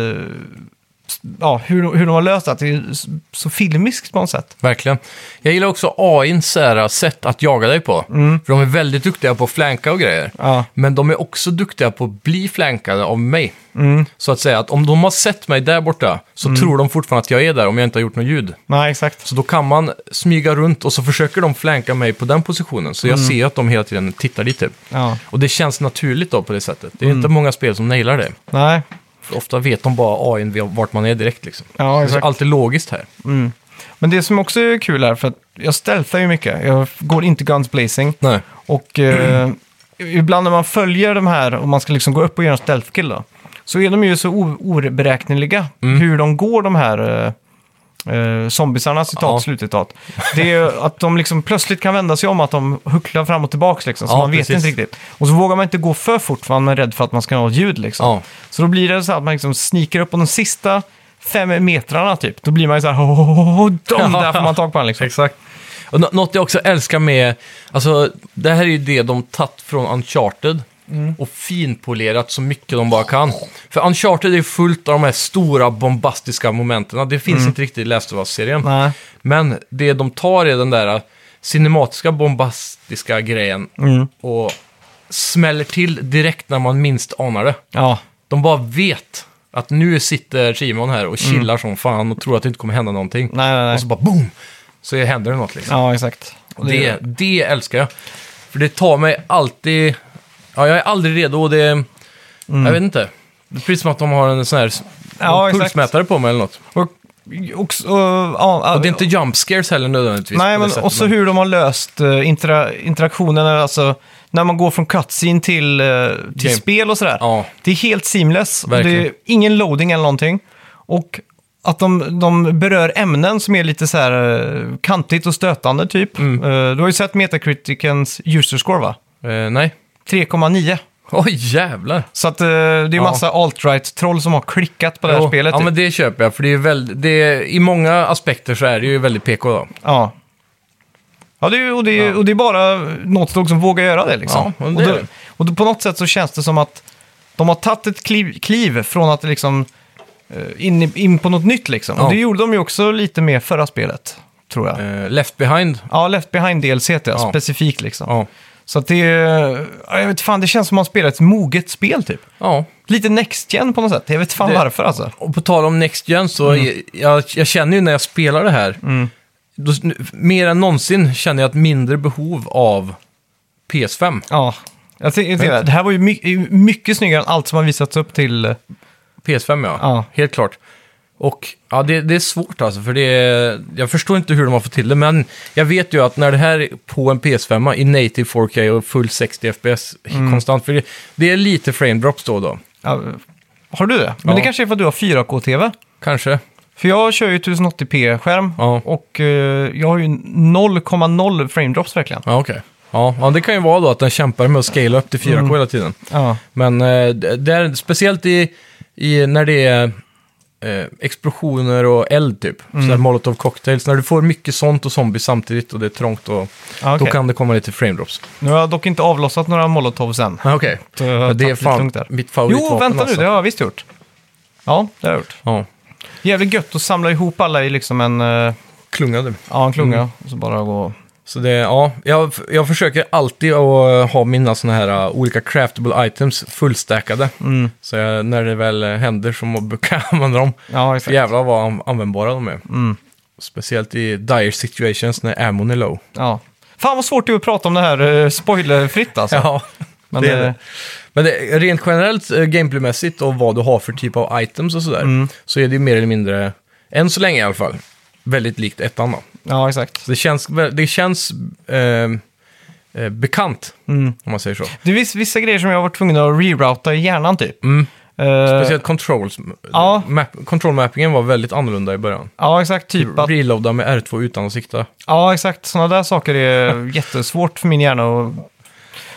S1: s- ja, hur, hur de har löst det, att det är s- så filmiskt på något sätt.
S2: Verkligen. Jag gillar också AIns så här sätt att jaga dig på. För de är väldigt duktiga på att flanka och grejer.
S1: Mm. Ja.
S2: Men de är också duktiga på att bli flankade av mig.
S1: Mm.
S2: Så att säga att om de har sett mig där borta så tror de fortfarande att jag är där om jag inte har gjort något ljud.
S1: Nej, exakt.
S2: Så då kan man smyga runt och så försöker de flanka mig på den positionen. Så jag ser att de hela tiden tittar dit typ.
S1: Mm. Ja. Mm.
S2: Och det känns naturligt då på det sättet. Det är inte många spel som nailar det.
S1: Nej,
S2: För ofta vet de bara AIn vart man är direkt liksom.
S1: ja,
S2: Det är
S1: exakt.
S2: alltid logiskt här.
S1: Men det som också är kul här, för att jag stealthar ju mycket. Jag går inte guns blazing.
S2: Nej.
S1: Och eh, ibland när man följer de här och man ska liksom gå upp och göra en stealth kill då, så är de ju så o- oberäkneliga
S2: Mm.
S1: hur de går de här eh, eh, zombisarna, citat,
S2: Ja.
S1: slutcitat. Det är ju att de liksom plötsligt kan vända sig om, att de hucklar fram och tillbaka liksom, så
S2: Ja,
S1: man vet
S2: precis.
S1: inte riktigt. Och så vågar man inte gå för fort för man är rädd för att man ska ha ett ljud liksom.
S2: Ja.
S1: Så då blir det så att man liksom sniker upp på de sista fem metrarna typ. Då blir man ju så här, "Ho, ho, ho, ho, de där får man tag på han liksom.
S2: Exakt. Och nå- något jag också älskar med, alltså det här är ju det de tagit från Uncharted och finpolerat så mycket de bara kan. För Uncharted är fullt av de här stora bombastiska momenten. Det finns inte riktigt i Last of Us-serien.
S1: Nej.
S2: Men det de tar är den där äh, cinematiska bombastiska grejen och smäller till direkt när man minst anar det.
S1: Ja,
S2: De bara vet att nu sitter Simon här och chillar som fan och tror att det inte kommer hända någonting.
S1: nej, nej, nej.
S2: Och så bara boom! Så händer det något liksom.
S1: Ja, exakt. Och det-
S2: Det, det älskar jag. För det tar mig alltid... Ja, jag är aldrig redo och det... Jag vet inte. Det är precis som att de har en sån här
S1: Mm. Ja,
S2: en
S1: exakt.
S2: pulsmätare på mig eller något.
S1: Och, också, och, ja,
S2: Och det är inte jump scares heller nödvändigtvis. på
S1: Nej,
S2: det
S1: men
S2: sättet,
S1: också
S2: men-
S1: hur de har löst eh, intera interaktionen, eller alltså när man går från cutscene till, eh, till
S2: Game.
S1: spel och sådär.
S2: Ja.
S1: Det är helt seamless, och det
S2: Verkligen.
S1: är ingen loading eller någonting. Och att de, de berör ämnen som är lite så här eh, kantigt och stötande typ.
S2: Mm.
S1: Eh, Du har ju sett Metacriticens user score va?
S2: Eh, nej.
S1: 3,9.
S2: Oj, jävlar.
S1: Så att eh, det är
S2: Ja.
S1: massa alt-right-troll som har klickat på det här
S2: Jo,
S1: spelet.
S2: Ja,
S1: typ.
S2: men det köper jag. För det är väl, det är, I många aspekter så är det ju väldigt PK då.
S1: Ja. Ja, det är, ju- och, det är, ju- och det är bara något lag som vågar göra det liksom.
S2: Ja, men
S1: och,
S2: det är
S1: då,
S2: det.
S1: och då på något sätt så känns det som att de har tagit ett kliv, kliv från att liksom eh, in, i- in på något nytt liksom.
S2: Ja.
S1: Och det gjorde de ju också lite med förra spelet, tror jag.
S2: Eh, left behind.
S1: Ja, Left Behind DLC heter jag,
S2: Ja.
S1: specifikt liksom.
S2: Ja.
S1: Så att det är, ja, jag vet fan, det känns som att man spelar ett moget spel typ.
S2: Ja.
S1: Lite Next Gen på något sätt, jag vet fan
S2: Det-
S1: varför alltså.
S2: Och på tal om Next Gen så jag, jag känner ju när jag spelar det här, då, nu- mer än någonsin känner jag ett mindre behov av PS5.
S1: Ja, jag, ty- jag, tycker det här var ju my- mycket snyggare än allt som har visats upp till... eh,
S2: PS5 ja,
S1: Ja.
S2: helt klart. Och ja, det, det är svårt alltså, för det är, jag förstår inte hur de har fått till det, men jag vet ju att när det här är på en PS5 i native 4K och full 60 FPS konstant, för det, det är lite frame drops då och då,
S1: Ja, har du det? Men
S2: Ja.
S1: det kanske är för att du har 4K-TV?
S2: kanske.
S1: För jag kör ju 1080p-skärm
S2: Ja.
S1: och eh, jag har ju 0,0 frame drops verkligen.
S2: Ja, okej. Ja, ja, det kan ju vara då att den kämpar med att scala upp till 4K hela tiden.
S1: Ja,
S2: Men eh, d- där, speciellt i, i, när det är eh, explosioner och eld typ.
S1: Mm.
S2: Sådär molotov cocktails. När du får mycket sånt och zombies samtidigt och det är trångt och
S1: ja okej.
S2: då kan det komma lite frame drops.
S1: Nu har jag dock inte avlossat några molotovs än.
S2: Ah, Okej,
S1: Så jag har
S2: Men det är
S1: tagit lite
S2: fan
S1: lugnt där.
S2: mitt
S1: Jo,
S2: favoritvapen
S1: vänta nu,
S2: alltså.
S1: det har jag visst gjort. Ja, det har jag gjort.
S2: Ja,
S1: Jävligt gött att samla ihop alla i liksom en, eh,
S2: klungade.
S1: ja, en
S2: Mm.
S1: klunga och så bara gå...
S2: Så det, ja, jag, jag försöker alltid att eh, ha mina sådana här uh, olika craftable items fullstackade.
S1: Mm.
S2: Så jag, när det väl eh, händer så må- kan jag använda dem.
S1: Ja,
S2: För
S1: exakt. Mm.
S2: jävlar vad an- användbara de är. Speciellt i dire situations när ammon är low.
S1: Ja. Fan vad svårt det är att prata om det här eh, spoilerfritt alltså.
S2: Ja,
S1: Men,
S2: men det är
S1: eh,
S2: det. Men det, rent generellt eh, gameplaymässigt och vad du har för typ av items och sådär,
S1: Mm.
S2: så är det ju mer eller mindre, än så länge i alla fall, väldigt likt ettan då.
S1: Ja, exakt.
S2: Så det känns, väl- det känns eh, eh, bekant.
S1: Mm.
S2: Om man säger så.
S1: Det är viss, vissa grejer som jag var tvungen att rerouta i hjärnan typ. Eh,
S2: Mm. Speciellt controls,
S1: ja.
S2: map, control mappingen var väldigt annorlunda i början.
S1: ja, exakt. Typ att,
S2: Reloada med R2 utan att sikta.
S1: ja, exakt. Sådana där saker är jättesvårt för min hjärna att...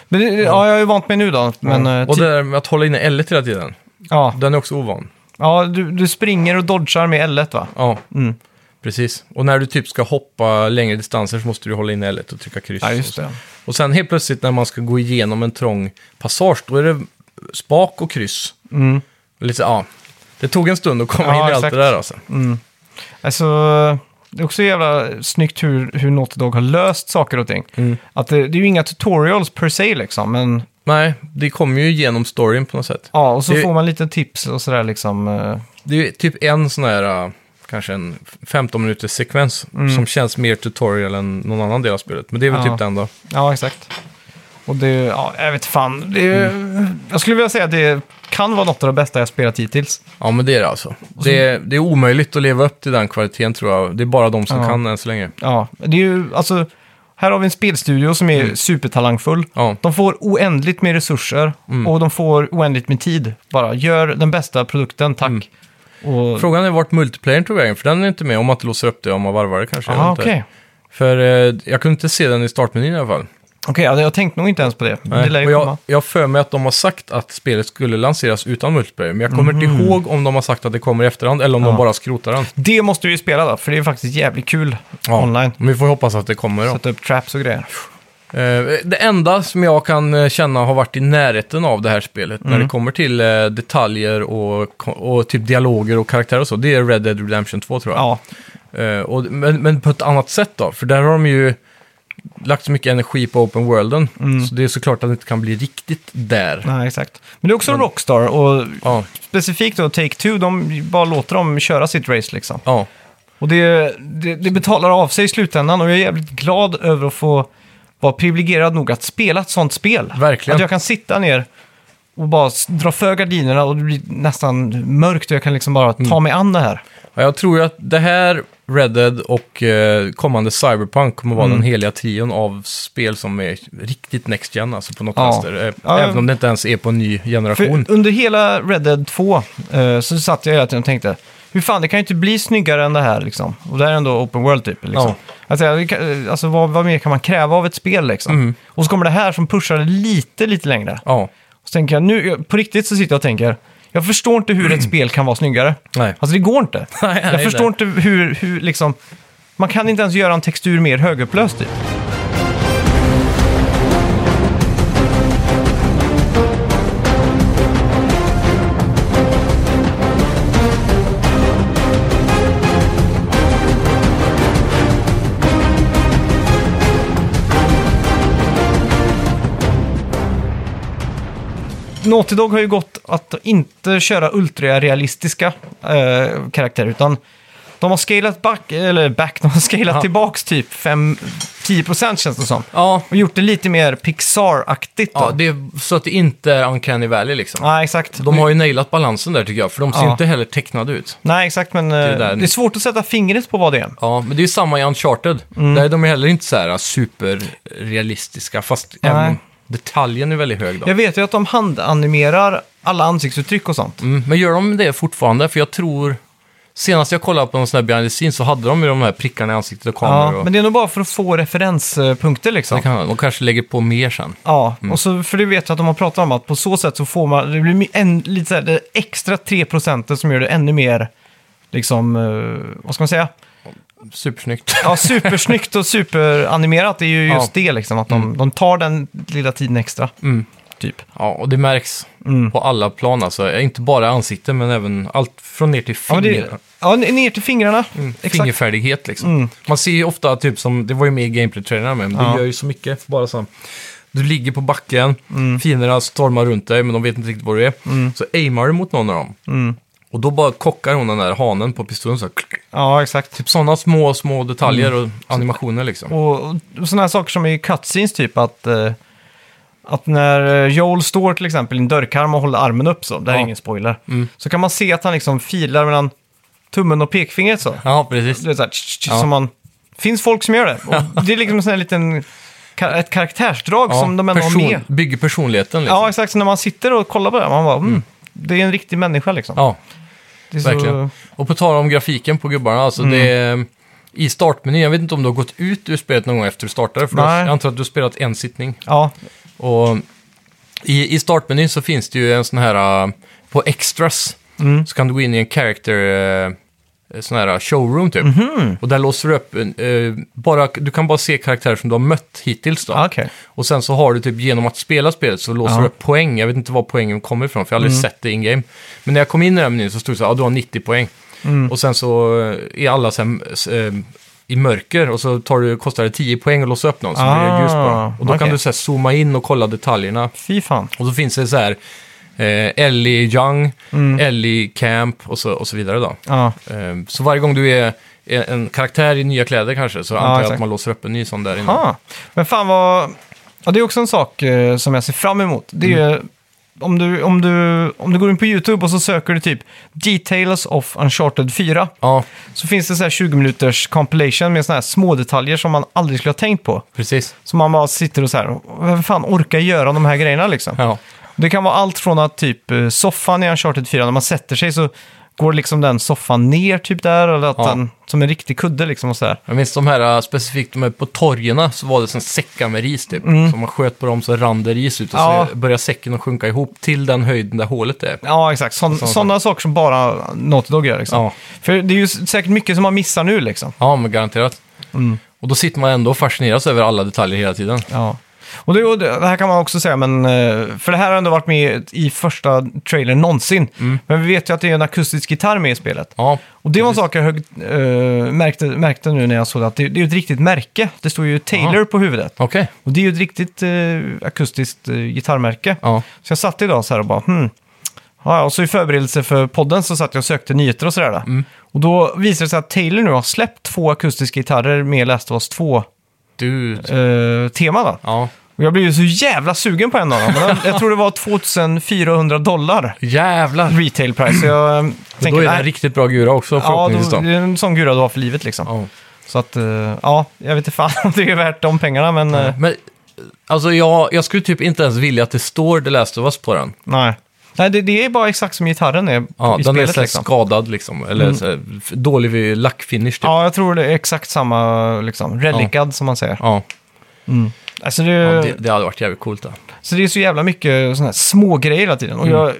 S1: Men det, ja, jag är ju vant mig nu då. Men, eh,
S2: och
S1: ti-
S2: det där med att hålla inne L E hela tiden,
S1: ja,
S2: den är också ovan.
S1: ja du, du springer och dodgar med L va?
S2: Ja,
S1: Mm.
S2: precis. Och när du typ ska hoppa längre distanser så måste du hålla inne L och trycka kryss.
S1: Ja, just det.
S2: Och sen helt plötsligt när man ska gå igenom en trång passage, då är det spak och kryss.
S1: Mm.
S2: Lite, ja. Det tog en stund att komma
S1: Ja,
S2: in i allt
S1: exakt. Mm.
S2: det där alltså.
S1: Alltså, det är också jävla snyggt hur, hur Naughty Dog har löst saker och ting.
S2: Mm.
S1: Att det, det är ju inga tutorials per se liksom, men
S2: Nej, det kom ju igenom storyn på något sätt.
S1: ja, och så
S2: Det-
S1: får man lite tips och sådär liksom. eh,
S2: Det är ju typ en sån här, äh, kanske en 15 minuters sekvens som känns mer tutorial än någon annan del av spelet. Men det är väl
S1: Mm. Ja.
S2: typ den då.
S1: Ja, exakt. Och det, ja, jag vet fan. Det,
S2: Mm.
S1: Jag skulle vilja säga att det kan vara något av det bästa jag spelat hittills.
S2: Ja, men det är det alltså. Det är, det är omöjligt att leva upp till den kvaliteten tror jag. Det är bara de som
S1: Ja.
S2: kan än så länge.
S1: Ja, det är ju, alltså, här har vi en spelstudio som är
S2: Mm.
S1: supertalangfull.
S2: Ja,
S1: De får oändligt med resurser
S2: Mm.
S1: och de får oändligt med tid. Bara gör den bästa produkten, tack.
S2: Mm.
S1: Och,
S2: Frågan är vart multiplayern tog vägen, för den är inte med om man inte låser upp det om man varvar det kanske. jag
S1: Aha,
S2: vet inte.
S1: okej.
S2: För eh, jag kunde inte se den i startmenyn i alla fall.
S1: Okej, ja, jag tänkte nog inte ens på det. Men
S2: Nej,
S1: Det lär ju
S2: och jag,
S1: komma.
S2: jag har för mig att de har sagt att spelet skulle lanseras utan multiplayer, men jag kommer inte ihåg om de har sagt att det kommer i efterhand eller om de
S1: Mm. Ja.
S2: bara skrotar den.
S1: Det måste vi ju spela då, för det är faktiskt jävligt kul
S2: Ja,
S1: online.
S2: Men vi får hoppas att det kommer då.
S1: Sätta upp traps och grejer.
S2: Eh, det enda som jag kan eh, känna har varit i närheten av det här spelet, när
S1: Mm.
S2: det kommer till eh, detaljer och, ko- och typ dialoger och karaktärer och så, det är Red Dead Redemption 2 tror jag.
S1: Ja,
S2: Eh, och, men, men på ett annat sätt då, för där har de ju lagt så mycket energi på open worlden,
S1: Mm.
S2: så det är såklart att det inte kan bli riktigt där.
S1: nej, exakt. Men det är också Rockstar och
S2: Ja,
S1: specifikt då Take-Two, de bara låter dem köra sitt race liksom.
S2: ja,
S1: Och det, det, det betalar av sig i slutändan och jag är jävligt glad över att få vara privilegierad nog att spela ett sånt spel.
S2: Verkligen.
S1: Att jag kan sitta ner och bara s- dra för gardinerna och det blir nästan mörkt och jag kan liksom bara ta mig an det här.
S2: Ja, jag tror ju att det här, Red Dead och eh, kommande Cyberpunk kommer
S1: Mm.
S2: vara den heliga trion av spel som är riktigt next gen, alltså på något
S1: Ja.
S2: vänster. Eh,
S1: Ja,
S2: Även om det inte ens är på en ny generation.
S1: För under hela Red Dead 2 eh, så satt jag hela tiden och tänkte, hur fan det kan ju inte bli snyggare än det här liksom. Och det här är ändå open world typ. Liksom. Alltså, jag- det kan- alltså vad, vad mer kan man kräva av ett spel liksom?
S2: Mm.
S1: Och så kommer det här som pushar det lite, lite längre.
S2: Ja,
S1: Och så tänker jag, nu, jag- på riktigt så sitter jag och tänker, jag förstår inte hur ett spel kan vara snyggare.
S2: nej.
S1: Alltså det går inte.
S2: Nej,
S1: jag
S2: nej,
S1: förstår
S2: nej.
S1: inte hur, hur liksom, man kan inte ens göra en textur mer högupplöst typ. Naughty Dog har ju gått att inte köra ultrarealistiska eh, karaktärer, utan de har scalat back, eller back, de har scalat
S2: Ja.
S1: tillbaks typ 5-10% känns det som.
S2: Ja,
S1: Och gjort det lite mer Pixar-aktigt då.
S2: ja det är, så att det inte är Uncanny Valley liksom.
S1: Nej, exakt.
S2: De har ju nailat balansen där tycker jag, för de ser
S1: Ja.
S2: inte heller tecknade ut.
S1: Nej, exakt, men eh,
S2: är
S1: det,
S2: där-
S1: är svårt att sätta fingret på vad det är.
S2: Ja, men det är ju samma i Uncharted.
S1: Mm.
S2: Där är de ju heller inte så här äh, superrealistiska, fast
S1: Nej.
S2: även detaljen är väldigt hög då.
S1: Jag vet ju att de handanimerar alla ansiktsuttryck och sånt.
S2: Mm, men gör de det fortfarande? För jag tror... Senast jag kollade på någon sån här behind the scenes så hade de ju de här prickarna i ansiktet och kameror.
S1: Ja,
S2: och...
S1: men det är nog bara för att få referenspunkter liksom.
S2: det kan, de kanske lägger på mer sen.
S1: Ja, och så, för det vet jag att de har pratat om att på så sätt så får man, det blir mi- en, lite så här, det extra 3 procenten som gör det ännu mer, liksom, eh, vad ska man säga?
S2: Supersnyggt.
S1: Ja, supersnyggt och superanimerat är ju
S2: Ja.
S1: just det liksom, att de, de tar den lilla tiden extra. Typ.
S2: Ja, och det märks
S1: Mm.
S2: på alla plan alltså. Inte bara ansikten, men även allt från ner till
S1: Ja,
S2: fingrar.
S1: men det, ja, ner till fingrarna. Exakt.
S2: Mm,
S1: Mm.
S2: fingerfärdighet liksom. Man ser ju ofta, typ som, det var ju med i gameplay-trailerna med, men
S1: Ja.
S2: det gör ju så mycket. Bara så. Du ligger på backen,
S1: Mm.
S2: fienderna stormar runt dig, men de vet inte riktigt var du är. Så aimar du mot någon av dem.
S1: Mm.
S2: Och då bara kockar hon den där hanen på pistolen så här, klick.
S1: Ja, exakt.
S2: Typ sådana små, små detaljer och animationer liksom.
S1: Mm. Och, och sådana här saker som i cutscenes typ att, eh, att när eh, Joel står till exempel i en dörrkarm och håller armen upp så, det här är
S2: Ja. Mm.
S1: ingen spoiler, så kan man se att han liksom filar mellan tummen och pekfingret så.
S2: Ja, precis.
S1: Du vet, så här, tsch, tsch, tsch,
S2: Ja.
S1: som man, finns folk som gör det. Och det är liksom en sån här liten ka- ett karaktärsdrag som de ändå har med.
S2: bygger personligheten liksom.
S1: Ja, exakt. Så när man sitter och kollar på det, här, man bara, mm, det är en riktig människa liksom.
S2: Ja,
S1: det är
S2: verkligen. Och på tal om grafiken på gubbarna, alltså det
S1: Mm.
S2: är, i startmenyn, jag vet inte om du har gått ut ur spelet någon gång efter du startade, för då,
S1: Nej.
S2: jag antar att du har spelat en sittning.
S1: ja,
S2: Och i, i startmenyn så finns det ju en sån här, äh, på extras,
S1: Mm.
S2: så kan du gå in i en character, äh, sån här showroom typ.
S1: Mhm.
S2: Och där låser du upp, äh, bara, du kan bara se karaktärer som du har mött hittills då.
S1: ja, Ah, okej.
S2: Och sen så har du typ genom att spela spelet så
S1: Ja.
S2: låser
S1: Mm.
S2: du upp poäng. Jag vet inte var poängen kommer ifrån för jag har aldrig sett det in-game. Men när jag kom in i den här menyn så stod det så här, ja du har 90 poäng.
S1: Mm.
S2: Och sen så eh, är alla sen, s- eh, i mörker och så tar du, kostar det 10 poäng att låsa upp någon så blir det ljus på
S1: Ah,
S2: dem. Och då kan
S1: okej.
S2: du så här, zooma in och kolla detaljerna.
S1: Fy fan.
S2: Och så finns det så här eh, Ellie Young,
S1: Mm.
S2: Ellie Camp och så, och så vidare då.
S1: Ja,
S2: Eh, så varje gång du är en- en karaktär i nya kläder kanske så antar jag att
S1: exakt.
S2: man låser upp en ny sån där inne.
S1: ah. Men fan vad... Ja, det är också en sak eh, som jag ser fram emot. Det är
S2: Mm.
S1: ju, om, du, om, du, om du går in på YouTube och så söker du typ Details of Uncharted 4.
S2: Ja,
S1: Så finns det så här 20 minuters compilation med såna här små detaljer som man aldrig skulle ha tänkt på.
S2: precis.
S1: Så man bara sitter och så här, vem fan orkar göra de här grejerna liksom?
S2: Ja.
S1: Det kan vara allt från att typ eh, soffan i Uncharted 4, när man sätter sig så går liksom den soffan ner typ där, eller att
S2: Ja.
S1: den som en riktig kudde liksom och sådär.
S2: Jag minns de här äh, specifikt de här på torgerna så var det som säckar med ris typ. Så man sköt på dem så rann det ris ut och
S1: Mm. Ja.
S2: så började säcken att sjunka ihop till den höjden där hålet är.
S1: Ja, exakt.
S2: Sådana
S1: Sådana saker som bara Naughty Dog gör liksom.
S2: Ja.
S1: För det är ju s- säkert mycket som man missar nu liksom.
S2: Ja, men garanterat.
S1: Mm.
S2: Och då sitter man ändå och fascineras över alla detaljer hela tiden.
S1: Ja. Och det, och det det här kan man också säga, men, eh, för det här har ändå varit med i första trailern någonsin.
S2: Mm.
S1: Men vi vet ju att det är en akustisk gitarr med i spelet.
S2: Ja,
S1: Och det var en sak jag hög, eh, märkte, märkte nu när jag såg det, att det, det är ju ett riktigt märke. Det står ju Taylor på huvudet.
S2: okej.
S1: Och det är ju ett riktigt eh, akustiskt eh, gitarrmärke.
S2: Ja.
S1: Så jag satt idag så här och bara, hmm. Ja, och så i förberedelse för podden så satt jag och sökte nyheter och sådär. då.
S2: Mm.
S1: Och då visade det sig att Taylor nu har släppt två akustiska gitarrer med Last of Us 2-tema.
S2: Du...
S1: då.
S2: Ja.
S1: Och jag blev ju så jävla sugen på en av dem. Jag- Jag tror det var 2400 dollar
S2: Jävlar!
S1: retail price. Så jag eh,
S2: Och då
S1: tänker,
S2: är det en
S1: nej,
S2: riktigt bra gura också
S1: ja,
S2: förhoppningsvis
S1: då,
S2: då.
S1: det är en sån gura du har för livet liksom.
S2: Ja.
S1: Så att, eh, ja, jag vet inte fan om det är värt de pengarna, men eh,
S2: Men alltså jag, jag skulle typ inte ens vilja att det står The Last of Us på den.
S1: nej. Nej, det, det är bara exakt som gitarren är
S2: Ja,
S1: i
S2: den är
S1: spelet
S2: så här
S1: liksom.
S2: skadad liksom, eller så här, f- dålig vid lackfinish typ.
S1: Ja, jag tror det är exakt samma, liksom, relikad som man säger.
S2: Ja.
S1: Alltså det,
S2: Ja, det, det hade varit jävligt coolt. Då.
S1: Så det är så jävla mycket sådana här små grejer hela tiden.
S2: Mm.
S1: Och jag,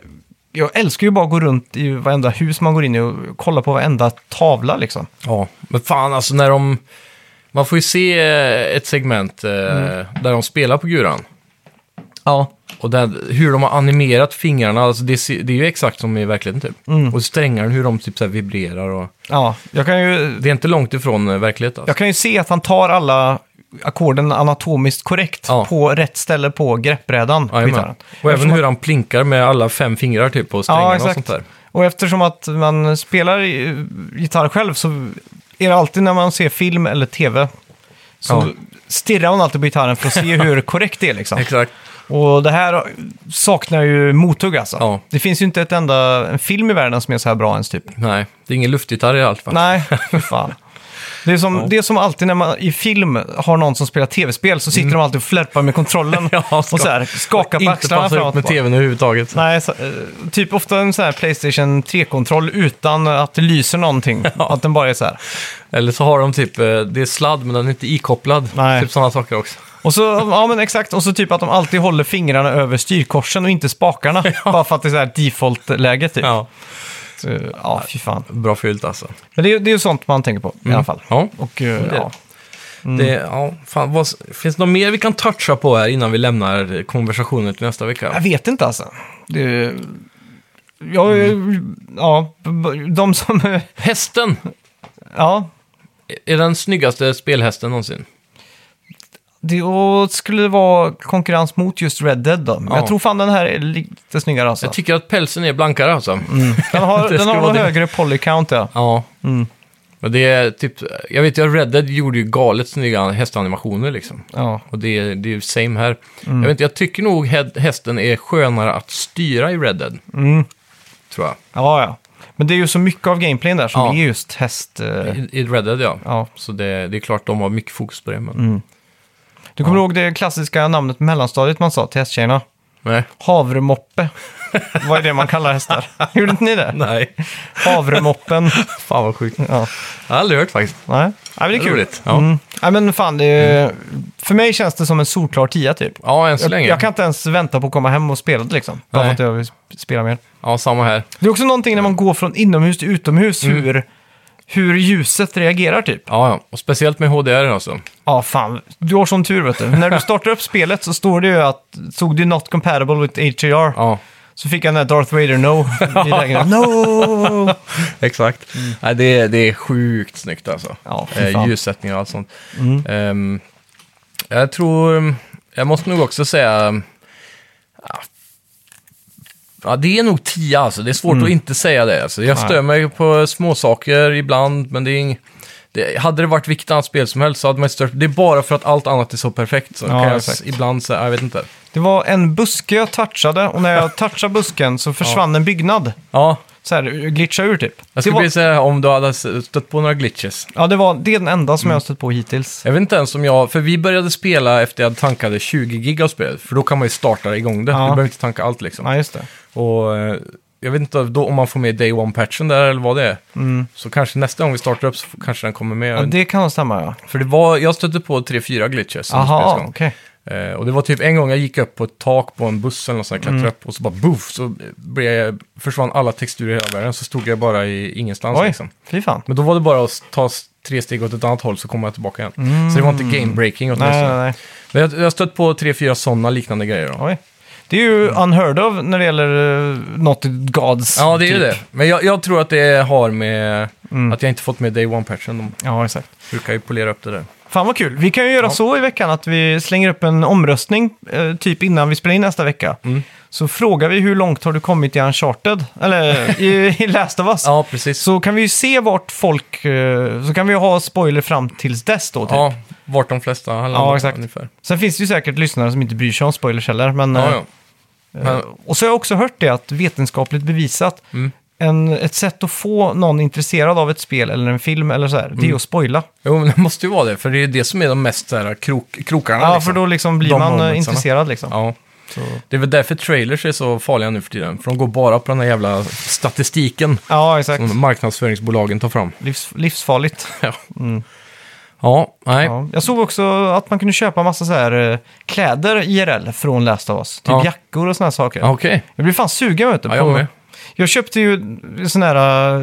S1: jag älskar ju bara att gå runt i varenda hus man går in i och kolla på varenda tavla liksom.
S2: Ja, men fan alltså när de... Man får ju se eh, ett segment eh, där de spelar på guran.
S1: Ja.
S2: Och där, hur de har animerat fingrarna, alltså det, ser- det är ju exakt som i verkligheten typ.
S1: Mm.
S2: Och strängarna, hur de typ så här vibrerar och...
S1: Ja, jag kan ju...
S2: Det är inte långt ifrån eh, verkligheten. Alltså.
S1: Jag kan ju se att han tar alla ackorden anatomiskt korrekt
S2: Ja.
S1: på rätt ställe på greppbrädan. på
S2: Jajamän.
S1: gitarren.
S2: och även
S1: Eftersom
S2: hur han plinkar med alla fem fingrar typ på strängarna och sånt där.
S1: Och eftersom att man spelar i- gitarr själv så är det alltid när man ser film eller tv så
S2: Ja.
S1: stirrar man alltid på gitarren för att se hur korrekt det är liksom.
S2: Exakt.
S1: Och det här saknar ju mothugg alltså.
S2: Ja.
S1: Det finns ju inte ett enda en film i världen som är så här bra ens typ.
S2: Nej, det är ingen luftgitarr i allt fall.
S1: Nej, för fan. Det är, som, det är som alltid när man i film har någon som spelar tv-spel så sitter de alltid och flärpar med kontrollen
S2: Mm. Ja,
S1: och
S2: ska-
S1: så här, skakar på
S2: Inte
S1: axlarna
S2: passar
S1: framåt.
S2: ihop med
S1: Med
S2: tvn överhuvudtaget.
S1: Nej, så, eh, typ ofta en sån här Playstation 3-kontroll utan att det lyser någonting. Att den bara är så här.
S2: Eller så har de typ, eh, det är sladd men den är inte ikopplad.
S1: Nej.
S2: Typ sådana saker också.
S1: Och så, ja men exakt, och så typ att de alltid håller fingrarna över styrkorsen och inte spakarna. Bara för att det är så här default-läge typ. Ja,
S2: Ja,
S1: ja fy fan.
S2: bra fyllt alltså.
S1: Men det är, det är ju sånt man tänker på i alla fall.
S2: Mm. Ja.
S1: Och, eh,
S2: det är
S1: ja. Mm.
S2: Det, ja, fan, vad, finns det något mer vi kan toucha på här innan vi lämnar konversationen till nästa
S1: Jag
S2: vecka?
S1: vet inte alltså. Det, jag,
S2: Mm.
S1: ja, de som...
S2: Hästen!
S1: Ja,
S2: Är den snyggaste spelhästen någonsin?
S1: det och skulle det vara konkurrens mot just Red Dead då. Men
S2: Ja.
S1: jag tror fan den här är lite snyggare alltså.
S2: Jag tycker att pälsen är blankare alltså.
S1: Den har,
S2: det
S1: den
S2: ska
S1: har
S2: vara
S1: nog
S2: det.
S1: högre polycount ja.
S2: Ja. Men det är typ, jag vet ju att Red Dead gjorde ju galet snygga hästanimationer liksom.
S1: ja.
S2: Och det är, det är ju same här. Jag vet inte, jag tycker nog hä- hästen är skönare att styra i Red Dead. Tror jag.
S1: Ja, ja. Men det är ju så mycket av gameplayen där som
S2: Ja.
S1: är just häst... eh,
S2: I, i Red Dead ja. Mm.
S1: Ja.
S2: Så det, det är klart de har mycket fokus på det. Men...
S1: Du kommer ihåg det klassiska namnet på mellanstadiet man sa till hästtjejerna?
S2: Nej.
S1: Havremoppe. Vad är det man kallar hästar? Gjorde inte ni det?
S2: Nej.
S1: Havremoppen.
S2: Fan vad sjukt.
S1: Ja.
S2: Jag har aldrig hört faktiskt.
S1: Nej. Nej, men det är kul.
S2: Roligt. Ja.
S1: Mm. Nej, men fan, det är, för mig känns det som en solklar tia typ.
S2: ja, än så
S1: Jag,
S2: länge.
S1: jag kan inte ens vänta på att komma hem och spela det liksom. Bara för
S2: Nej.
S1: att jag vill spela mer.
S2: Ja, samma här.
S1: Det är också någonting när man går från inomhus till utomhus,
S2: Mm.
S1: hur, hur ljuset reagerar typ.
S2: Ja, ja. Och speciellt med HDR alltså.
S1: Ja, fan. Du har sån tur vet du. När du startar upp spelet så står det ju att, såg du not compatible with HDR?
S2: Ja,
S1: Så fick jag den där Darth Vader no i lägenheten. No!
S2: exakt. Nej, det, är- det är sjukt snyggt alltså.
S1: Mm. Ja, fy
S2: eh,
S1: fan. Mm.
S2: ljussättning och allt sånt. Ehm, jag tror... Jag måste nog också säga... ah, Ja, det är nog 10 alltså. Det är svårt att inte säga det. Alltså. Jag
S1: Mm. Nej.
S2: stör mig på småsaker ibland, men det är ing... det, Hade det varit vilket annat spel som helst så hade man inte stört Det är bara för att allt annat är så perfekt. Så
S1: Ja,
S2: kan jag s-
S1: exakt.
S2: ibland säga, jag vet inte.
S1: Det var en buske jag touchade och när jag touchade busken så försvann en byggnad.
S2: Ja,
S1: Så här, glitchade ur typ.
S2: jag
S1: Det
S2: skulle
S1: var,
S2: vilja säga om du hade stött på några glitches.
S1: ja, det, var, det är den enda
S2: Mm.
S1: som jag har stött på hittills.
S2: Jag vet inte ens om jag, för vi började spela efter jag tankade 20 gig av spelet, för då kan man ju starta igång det.
S1: Ja.
S2: Du behöver inte tanka allt liksom.
S1: Nej, just det.
S2: Och eh, jag vet inte då, om man får med Day One-patchen där eller vad det är. Så kanske nästa gång vi startar upp så f- kanske den kommer med.
S1: Mm. Ja, det kan nog stämma ja.
S2: För det var, jag stötte på 3-4 glitches under spelets
S1: Aha,
S2: gång.
S1: okej.
S2: Eh, och det var typ en gång jag gick upp på ett tak på en buss eller något sånt, där,
S1: Mm.
S2: klättrade upp och så bara boof, så blev jag, försvann alla texturer i hela världen, så stod jag bara i ingenstans
S1: Oj,
S2: liksom.
S1: fy fan.
S2: Men då var det bara att ta s- tre steg åt ett annat håll så kommer jag tillbaka igen. Så det var inte game breaking åtminstone.
S1: Mm. Nej, nej, nej.
S2: Men jag, jag har stött på tre, fyra sådana liknande grejer. Då.
S1: Oj. Det är ju unheard of när det gäller uh, Not Gods.
S2: Mm. Ja, det är ju
S1: typ. Mm.
S2: det. Men jag, jag tror att det har med att jag inte fått med Day One-patchen. De
S1: Ja, exakt.
S2: brukar ju polera upp det där.
S1: Fan vad kul. Vi kan ju göra så i veckan att vi slänger upp en omröstning eh, typ innan vi spelar in nästa vecka.
S2: Mm.
S1: Så frågar vi hur långt har du kommit i Uncharted? Eller i, i Last of Us?
S2: Ja, precis.
S1: Så kan vi ju se vart folk... eh, Så kan vi ha spoiler fram tills dess då. Typ.
S2: ja, vart de flesta har landat
S1: Ja, exakt.
S2: ungefär.
S1: Sen finns det ju säkert lyssnare som inte bryr sig om spoilers heller. Men,
S2: Ja,
S1: eh,
S2: ja. Men, Mm.
S1: Och så har jag också hört det att vetenskapligt bevisat en, ett sätt att få någon intresserad av ett spel eller en film eller så här, det
S2: Mm.
S1: är att spoila.
S2: jo, men det måste ju vara det, för det är ju det som är de mest så här, krok, krokarna.
S1: Ja,
S2: liksom.
S1: för då liksom blir
S2: De
S1: man eh,
S2: momentsarna.
S1: intresserad liksom.
S2: Ja.
S1: Så.
S2: Det är väl därför trailers är så farliga nu för tiden, för de går bara på den här jävla statistiken
S1: Ja, exakt.
S2: som marknadsföringsbolagen tar fram.
S1: Livs, livsfarligt.
S2: Ja, ja nej.
S1: Ja. Jag såg också att man kunde köpa massa så här eh, kläder IRL från Last of Us. Typ
S2: Ja.
S1: jackor och såna här saker.
S2: Ja, Okej.
S1: Jag blir fan sugen vet du.
S2: Ja, jag med.
S1: jag köpte ju sån här...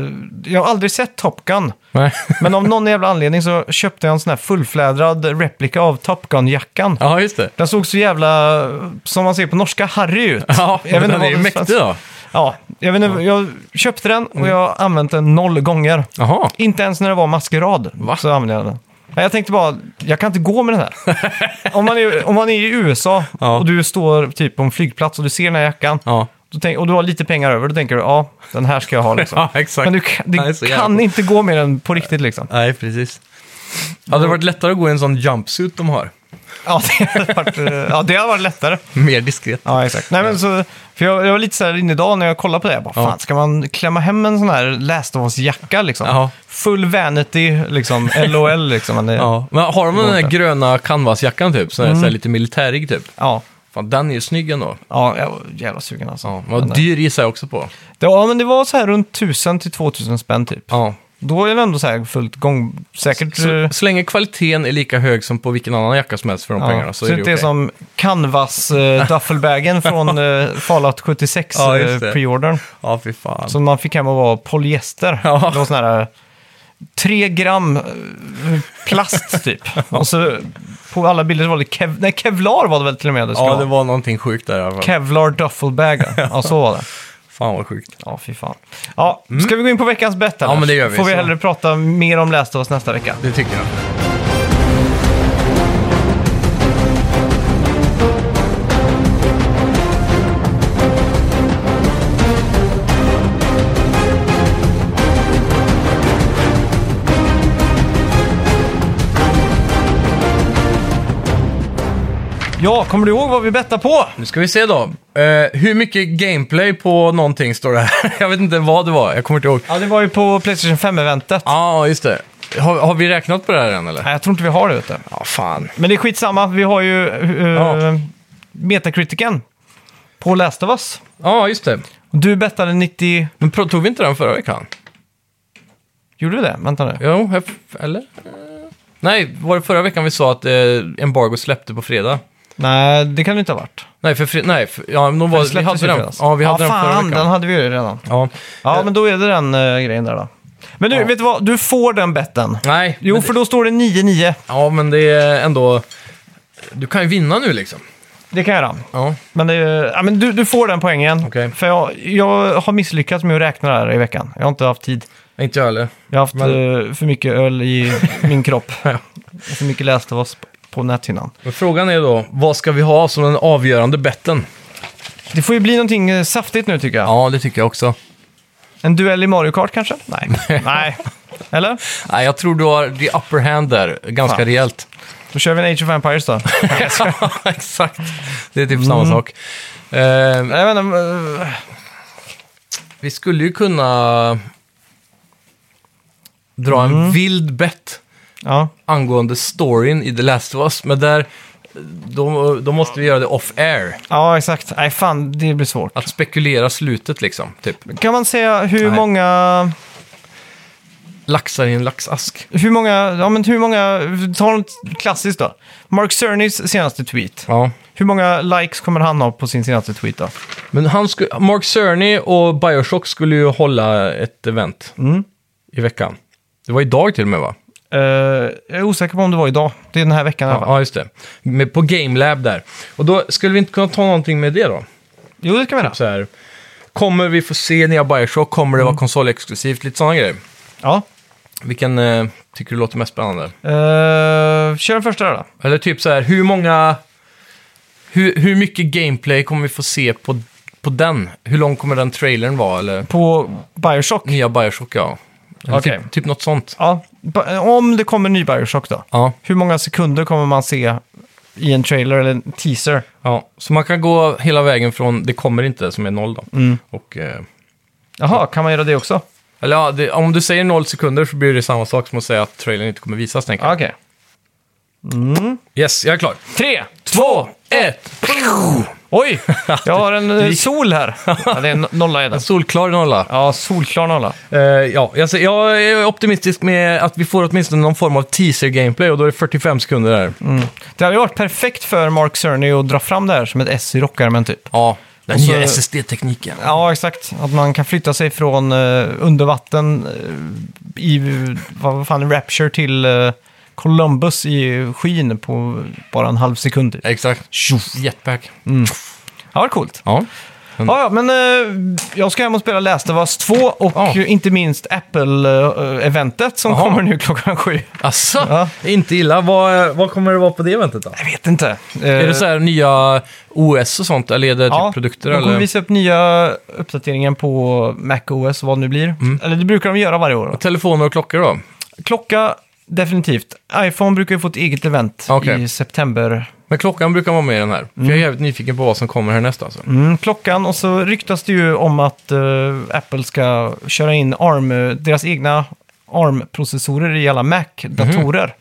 S1: eh, Jag har aldrig sett Top Gun.
S2: Nej.
S1: Men av någon jävla anledning så köpte jag en sån här fullflädrad replika av Top Gun-jackan.
S2: Ja, just det.
S1: Den såg så jävla, eh, som man ser på norska, harry ut.
S2: Ja,
S1: Jag vet
S2: men
S1: inte
S2: den
S1: vad
S2: är ju
S1: den
S2: mäktig
S1: svenska-
S2: då.
S1: Ja, jag, vet inte, jag köpte den
S2: Mm.
S1: och jag har använt den noll gånger.
S2: Jaha.
S1: Inte ens när det var maskerad
S2: Va?
S1: så använde jag den. Nej, Jag tänkte bara, jag kan inte gå med den här. om, man är, om man är i USA
S2: Ja.
S1: och du står typ på en flygplats och du ser den här jackan
S2: Ja.
S1: då tänk, och du har lite pengar över, då tänker du ja, den här ska jag ha liksom.
S2: Ja, exakt.
S1: Men du, kan- du
S2: Den är så jävla
S1: kan
S2: cool.
S1: inte gå med den på riktigt liksom.
S2: Nej, precis. Hade det varit lättare att gå i en sån jumpsuit de har?
S1: Ja, det hade varit, eh, ja, det hade varit lättare.
S2: Mer diskret.
S1: Ja, exakt. Nej, men så, för jag, jag var lite så här inne idag när jag kollade på det. Jag bara,
S2: Ja.
S1: fan, ska man klämma hem en sån här Last of Us-jacka liksom?
S2: Ja.
S1: Full vanity, liksom. LOL, liksom. Men det, ja.
S2: Ja. Men har de den där
S1: Inte.
S2: gröna canvasjackan typ? Sån här,
S1: Mm.
S2: så här lite militärig typ?
S1: Ja,
S2: Fan, den är ju snygg ändå.
S1: jag var jävla sugen alltså.
S2: Ja.
S1: Men,
S2: Vad dyr gissar jag också på.
S1: det, ja, men det var så här runt 1000 till 2000 spänn typ.
S2: Ja.
S1: Då är det ändå så här fullt gång... Säkert...
S2: Så,
S1: eh,
S2: så länge kvaliteten är lika hög som på vilken annan jacka som helst för de
S1: ja.
S2: pengarna så,
S1: det
S2: är det
S1: inte
S2: okej.
S1: är som canvas-duffelbagen från eh, Fallout 76
S2: Ja,
S1: eh,
S2: just det.
S1: pre-ordern.
S2: Ja, fy fan.
S1: Som man fick hem och var polyester.
S2: Ja.
S1: Det var sån här eh, tre gram eh, plast typ. och så på alla bilder så var det kev nej, kevlar var det väl till och med det skulle
S2: ja,
S1: vara.
S2: det var någonting sjukt där i alla fall.
S1: Kevlar duffelbag. ja, så var det.
S2: Fan vad sjukt.
S1: Ja, fy fan. Ja, ska vi gå in på veckans bett eller?
S2: Mm. men det gör vi,
S1: Får vi
S2: så.
S1: hellre prata mer om Last of Us nästa vecka.
S2: Det tycker jag.
S1: Ja, kommer du ihåg vad vi bettade på?
S2: Nu ska vi se då. Eh, hur mycket gameplay på någonting står det här? jag vet inte vad det var, jag kommer inte ihåg.
S1: Ja, det var ju på Playstation 5-eventet.
S2: Ja, just det. Har, har vi räknat på det här än eller?
S1: Nej, jag tror inte vi har det, vet du.
S2: Ja, fan.
S1: Men det är skitsamma, vi har ju uh,
S2: Ja.
S1: Metacriticen på Last of Us.
S2: Ja, just det.
S1: Du bettade 90...
S2: Men pro- tog vi inte den förra veckan?
S1: Gjorde du det? Vänta nu.
S2: Jo, jag f- eller? Eh, Nej, var det förra veckan vi sa att eh, Embargo släppte på fredag? Nej,
S1: Det kan det inte ha varit.
S2: nej, för fre- nej, för, ja, men de var,
S1: Det
S2: vi
S1: släpptes
S2: hade
S1: ju
S2: den,
S1: fredags.
S2: ja, vi hade
S1: ja,
S2: den
S1: fan,
S2: förra veckan.
S1: den hade vi ju redan.
S2: Ja.
S1: Ja,
S2: Eh,
S1: men då är det den eh, grejen där då. Men du,
S2: Ja.
S1: vet du vad? Du får den betten.
S2: Nej,
S1: Jo,
S2: men,
S1: för då står det 9-9.
S2: ja, men det är ändå... Du kan ju vinna nu liksom.
S1: Det kan jag göra.
S2: Ja,
S1: Men, det, är- ja, men du, du får den poängen.
S2: Okej.
S1: För jag, jag har misslyckats med att räkna det här i veckan. Jag har inte haft tid.
S2: inte jag heller.
S1: Jag har haft
S2: Men-
S1: eh, för mycket öl i min kropp. Och för mycket läst av oss på näthinnan.
S2: Men frågan är då, vad ska vi ha som den avgörande betten?
S1: Det får ju bli någonting eh, saftigt nu tycker jag.
S2: Ja, det tycker jag också.
S1: En duell i Mario Kart kanske? Nej. Nej. Eller?
S2: Nej, jag tror du har the upper hand där, ganska
S1: Fan.
S2: rejält.
S1: Då kör vi en Age of Empires då.
S2: Exakt, det är typ samma sak. Eh,
S1: Jag vet inte, eh,
S2: Vi skulle ju kunna dra en vild bett
S1: ja.
S2: angående storyn i The Last of Us, men där då, då måste vi göra det off-air.
S1: ja, exakt. Nej, fan, det blir svårt.
S2: Att spekulera slutet liksom, typ.
S1: Kan man säga hur
S2: Nej.
S1: många...
S2: Laxar i en laxask.
S1: Hur många... Ja, men hur många... Ta något klassiskt då. Mark Cernys senaste tweet.
S2: Ja.
S1: Hur många likes kommer han ha på sin senaste tweet då?
S2: Men han sku- Mark Cerny och Bioshock skulle ju hålla ett event i veckan. Det var idag till och med va?
S1: Eh, jag är osäker på om det var idag. Det är den här veckan i alla
S2: Ja,
S1: fall.
S2: just det. Med, på GameLab där. Och då skulle vi inte kunna ta någonting med det då?
S1: Jo, det kan vi göra.
S2: Så här, kommer vi få se nya Bioshock? Kommer det vara konsolexklusivt? Lite sådana grejer.
S1: Ja.
S2: Vilken eh, tycker du låter mest spännande?
S1: Eh, kör den första där då.
S2: Eller typ så här, hur många... Hur, hur mycket gameplay kommer vi få se på, på den? Hur lång kommer den trailern vara? Eller
S1: På Bioshock.
S2: nya Bioshock, ja. Eller
S1: Okej.
S2: Typ, typ något sånt.
S1: Ja, ba- om det kommer en ny Bioshock då.
S2: Ja,
S1: Hur många sekunder kommer man se i en trailer eller en teaser?
S2: ja. Så man kan gå hela vägen från det kommer inte, som är noll då. Och, eh,
S1: Jaha, kan man göra det också?
S2: eller ja, det, om du säger noll sekunder så blir det samma sak som att säga att trailern inte kommer visas, tänker jag.
S1: Okej.
S2: Yes, jag är klar.
S1: Tre!
S2: Två, ett!
S1: Oj! Jag har en eh,
S2: gick-
S1: sol här. Ja, det är en nolla i den.
S2: En solklar nolla.
S1: Ja, solklar nolla.
S2: Eh, ja, jag, ser- jag är optimistisk med att vi får åtminstone någon form av teaser-gameplay och då är det 45 sekunder där.
S1: Det hade ju varit perfekt för Mark Cerny att dra fram det här som ett S i rockärmen typ.
S2: Ja, den
S1: Och så-
S2: nya SSD-tekniken.
S1: Ja, exakt. Att man kan flytta sig från eh, under vatten eh, i vad fan, Rapture till eh, Columbus i skyn på bara en halv sekund. Typ.
S2: Exakt. Jetpack.
S1: Ja, det coolt.
S2: Ja.
S1: Ja, ja, men eh, jag ska hem och spela Last of Us 2 och
S2: Ja.
S1: eh, inte minst Apple-eventet som
S2: Jaha.
S1: kommer nu klockan sju.
S2: Alltså,
S1: Ja.
S2: inte illa. Vad, vad kommer det vara på det eventet då?
S1: Jag vet inte.
S2: Är det så här nya OS och sånt, eller är det typ produkter?
S1: de kommer
S2: Eller?
S1: visa upp nya uppdateringen på macOS, vad det nu blir.
S2: Mm.
S1: Eller det brukar de göra varje år.
S2: Telefoner och klockor då?
S1: Klocka, definitivt. iPhone brukar ju få ett eget event
S2: Okej.
S1: i september.
S2: Men klockan brukar vara med i den här. För jag är jävligt nyfiken på vad som kommer härnäst alltså.
S1: Mm, klockan, och så ryktas det ju om att eh, Apple ska köra in ARM, eh, deras egna ARM-processorer i alla Mac-datorer.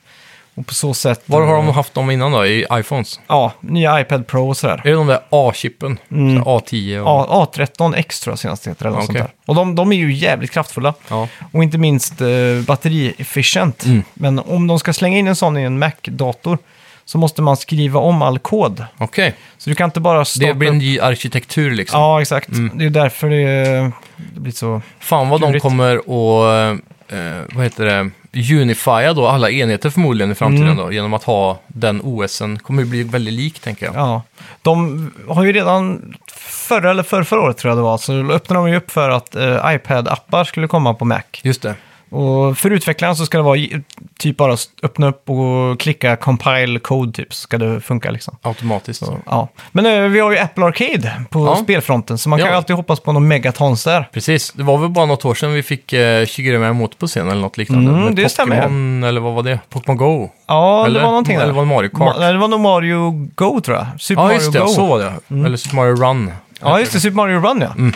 S1: Och på så sätt...
S2: Mhm. Var har
S1: eh,
S2: de haft dem innan då? I iPhones?
S1: Ja, nya iPad Pro och sådär.
S2: Är det de där A-chippen? Så här A10 och...
S1: Mm. A, A13X tror jag senast det heter. Eller något
S2: Okej.
S1: sånt där. Och de, de är ju jävligt kraftfulla.
S2: Ja.
S1: Och inte minst eh, batteri-efficient.
S2: Mm.
S1: Men om de ska slänga in en sån i en Mac-dator så måste man skriva om all kod.
S2: Okej.
S1: Så du kan inte bara starta
S2: Det blir en
S1: upp...
S2: ny arkitektur liksom.
S1: Ja, exakt. Det är ju därför det, det blir så...
S2: Fan vad de
S1: Klurigt.
S2: kommer att, eh, vad heter det, unifiera då alla enheter förmodligen i framtiden
S1: Mm.
S2: då, genom att ha den OSen. Kommer ju bli väldigt lik, tänker jag.
S1: Ja. De har ju redan förra eller förrförra året tror jag det var, så öppnade de ju upp för att eh, iPad-appar skulle komma på Mac.
S2: Just det.
S1: Och för utvecklaren så ska det vara i- typ bara s- öppna upp och klicka compile code typ, så ska det funka liksom.
S2: Automatiskt.
S1: Så, ja. Men eh, vi har ju Apple Arcade på
S2: Ja.
S1: spelfronten, så man kan
S2: Ja.
S1: ju alltid hoppas på någon megatons där.
S2: Precis, det var väl bara något år sedan vi fick eh, Shigeru emot på scen eller något liknande.
S1: Mm,
S2: Med
S1: det stämmer.
S2: Pokémon, eller vad var det? Pokémon Go?
S1: Ja,
S2: Eller?
S1: det var någonting där.
S2: Eller var det Mario Kart?
S1: Ma- Nej, det var nog Mario Go tror jag. Super
S2: Ja,
S1: Mario
S2: just det,
S1: Go. Mm.
S2: så var det. Eller Super Mario Run.
S1: Ja, just det. Super Mario Run ja.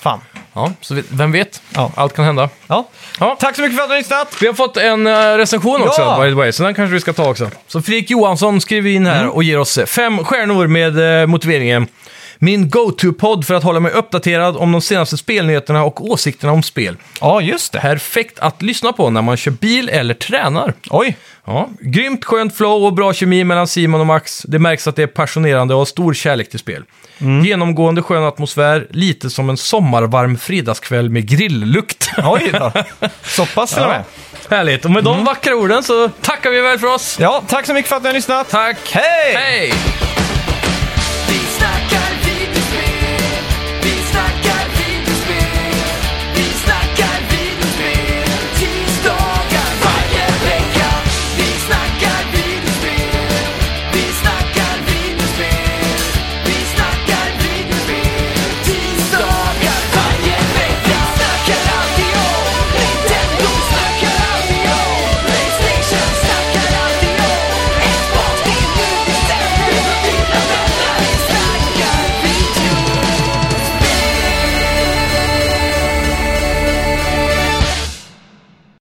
S1: Fan.
S2: Ja, så vi- vem vet?
S1: Ja.
S2: Allt kan hända.
S1: Ja.
S2: Ja.
S1: Tack så mycket för att du har lyssnat!
S2: Vi har fått en eh, recension också,
S1: Ja!
S2: by the way, så den kanske vi ska ta också. Så Fredrik Johansson skriver in
S1: Mm.
S2: här och ger oss eh, fem stjärnor med eh, motiveringen. Min go-to-podd för att hålla mig uppdaterad om de senaste spelnyheterna och åsikterna om spel.
S1: Ja, just det.
S2: Perfekt att lyssna på när man kör bil eller tränar.
S1: Oj!
S2: Ja, grymt skönt flow och bra kemi mellan Simon och Max. Det märks att det är passionerande och har stor kärlek till spel. Genomgående skön atmosfär, lite som en sommarvarm fredagskväll med grilllukt.
S1: Oj då. Så pass till och med.
S2: Härligt, och med de vackra orden så tackar vi väl för oss.
S1: Ja, tack så mycket för att ni har lyssnat!
S2: Tack! Hej!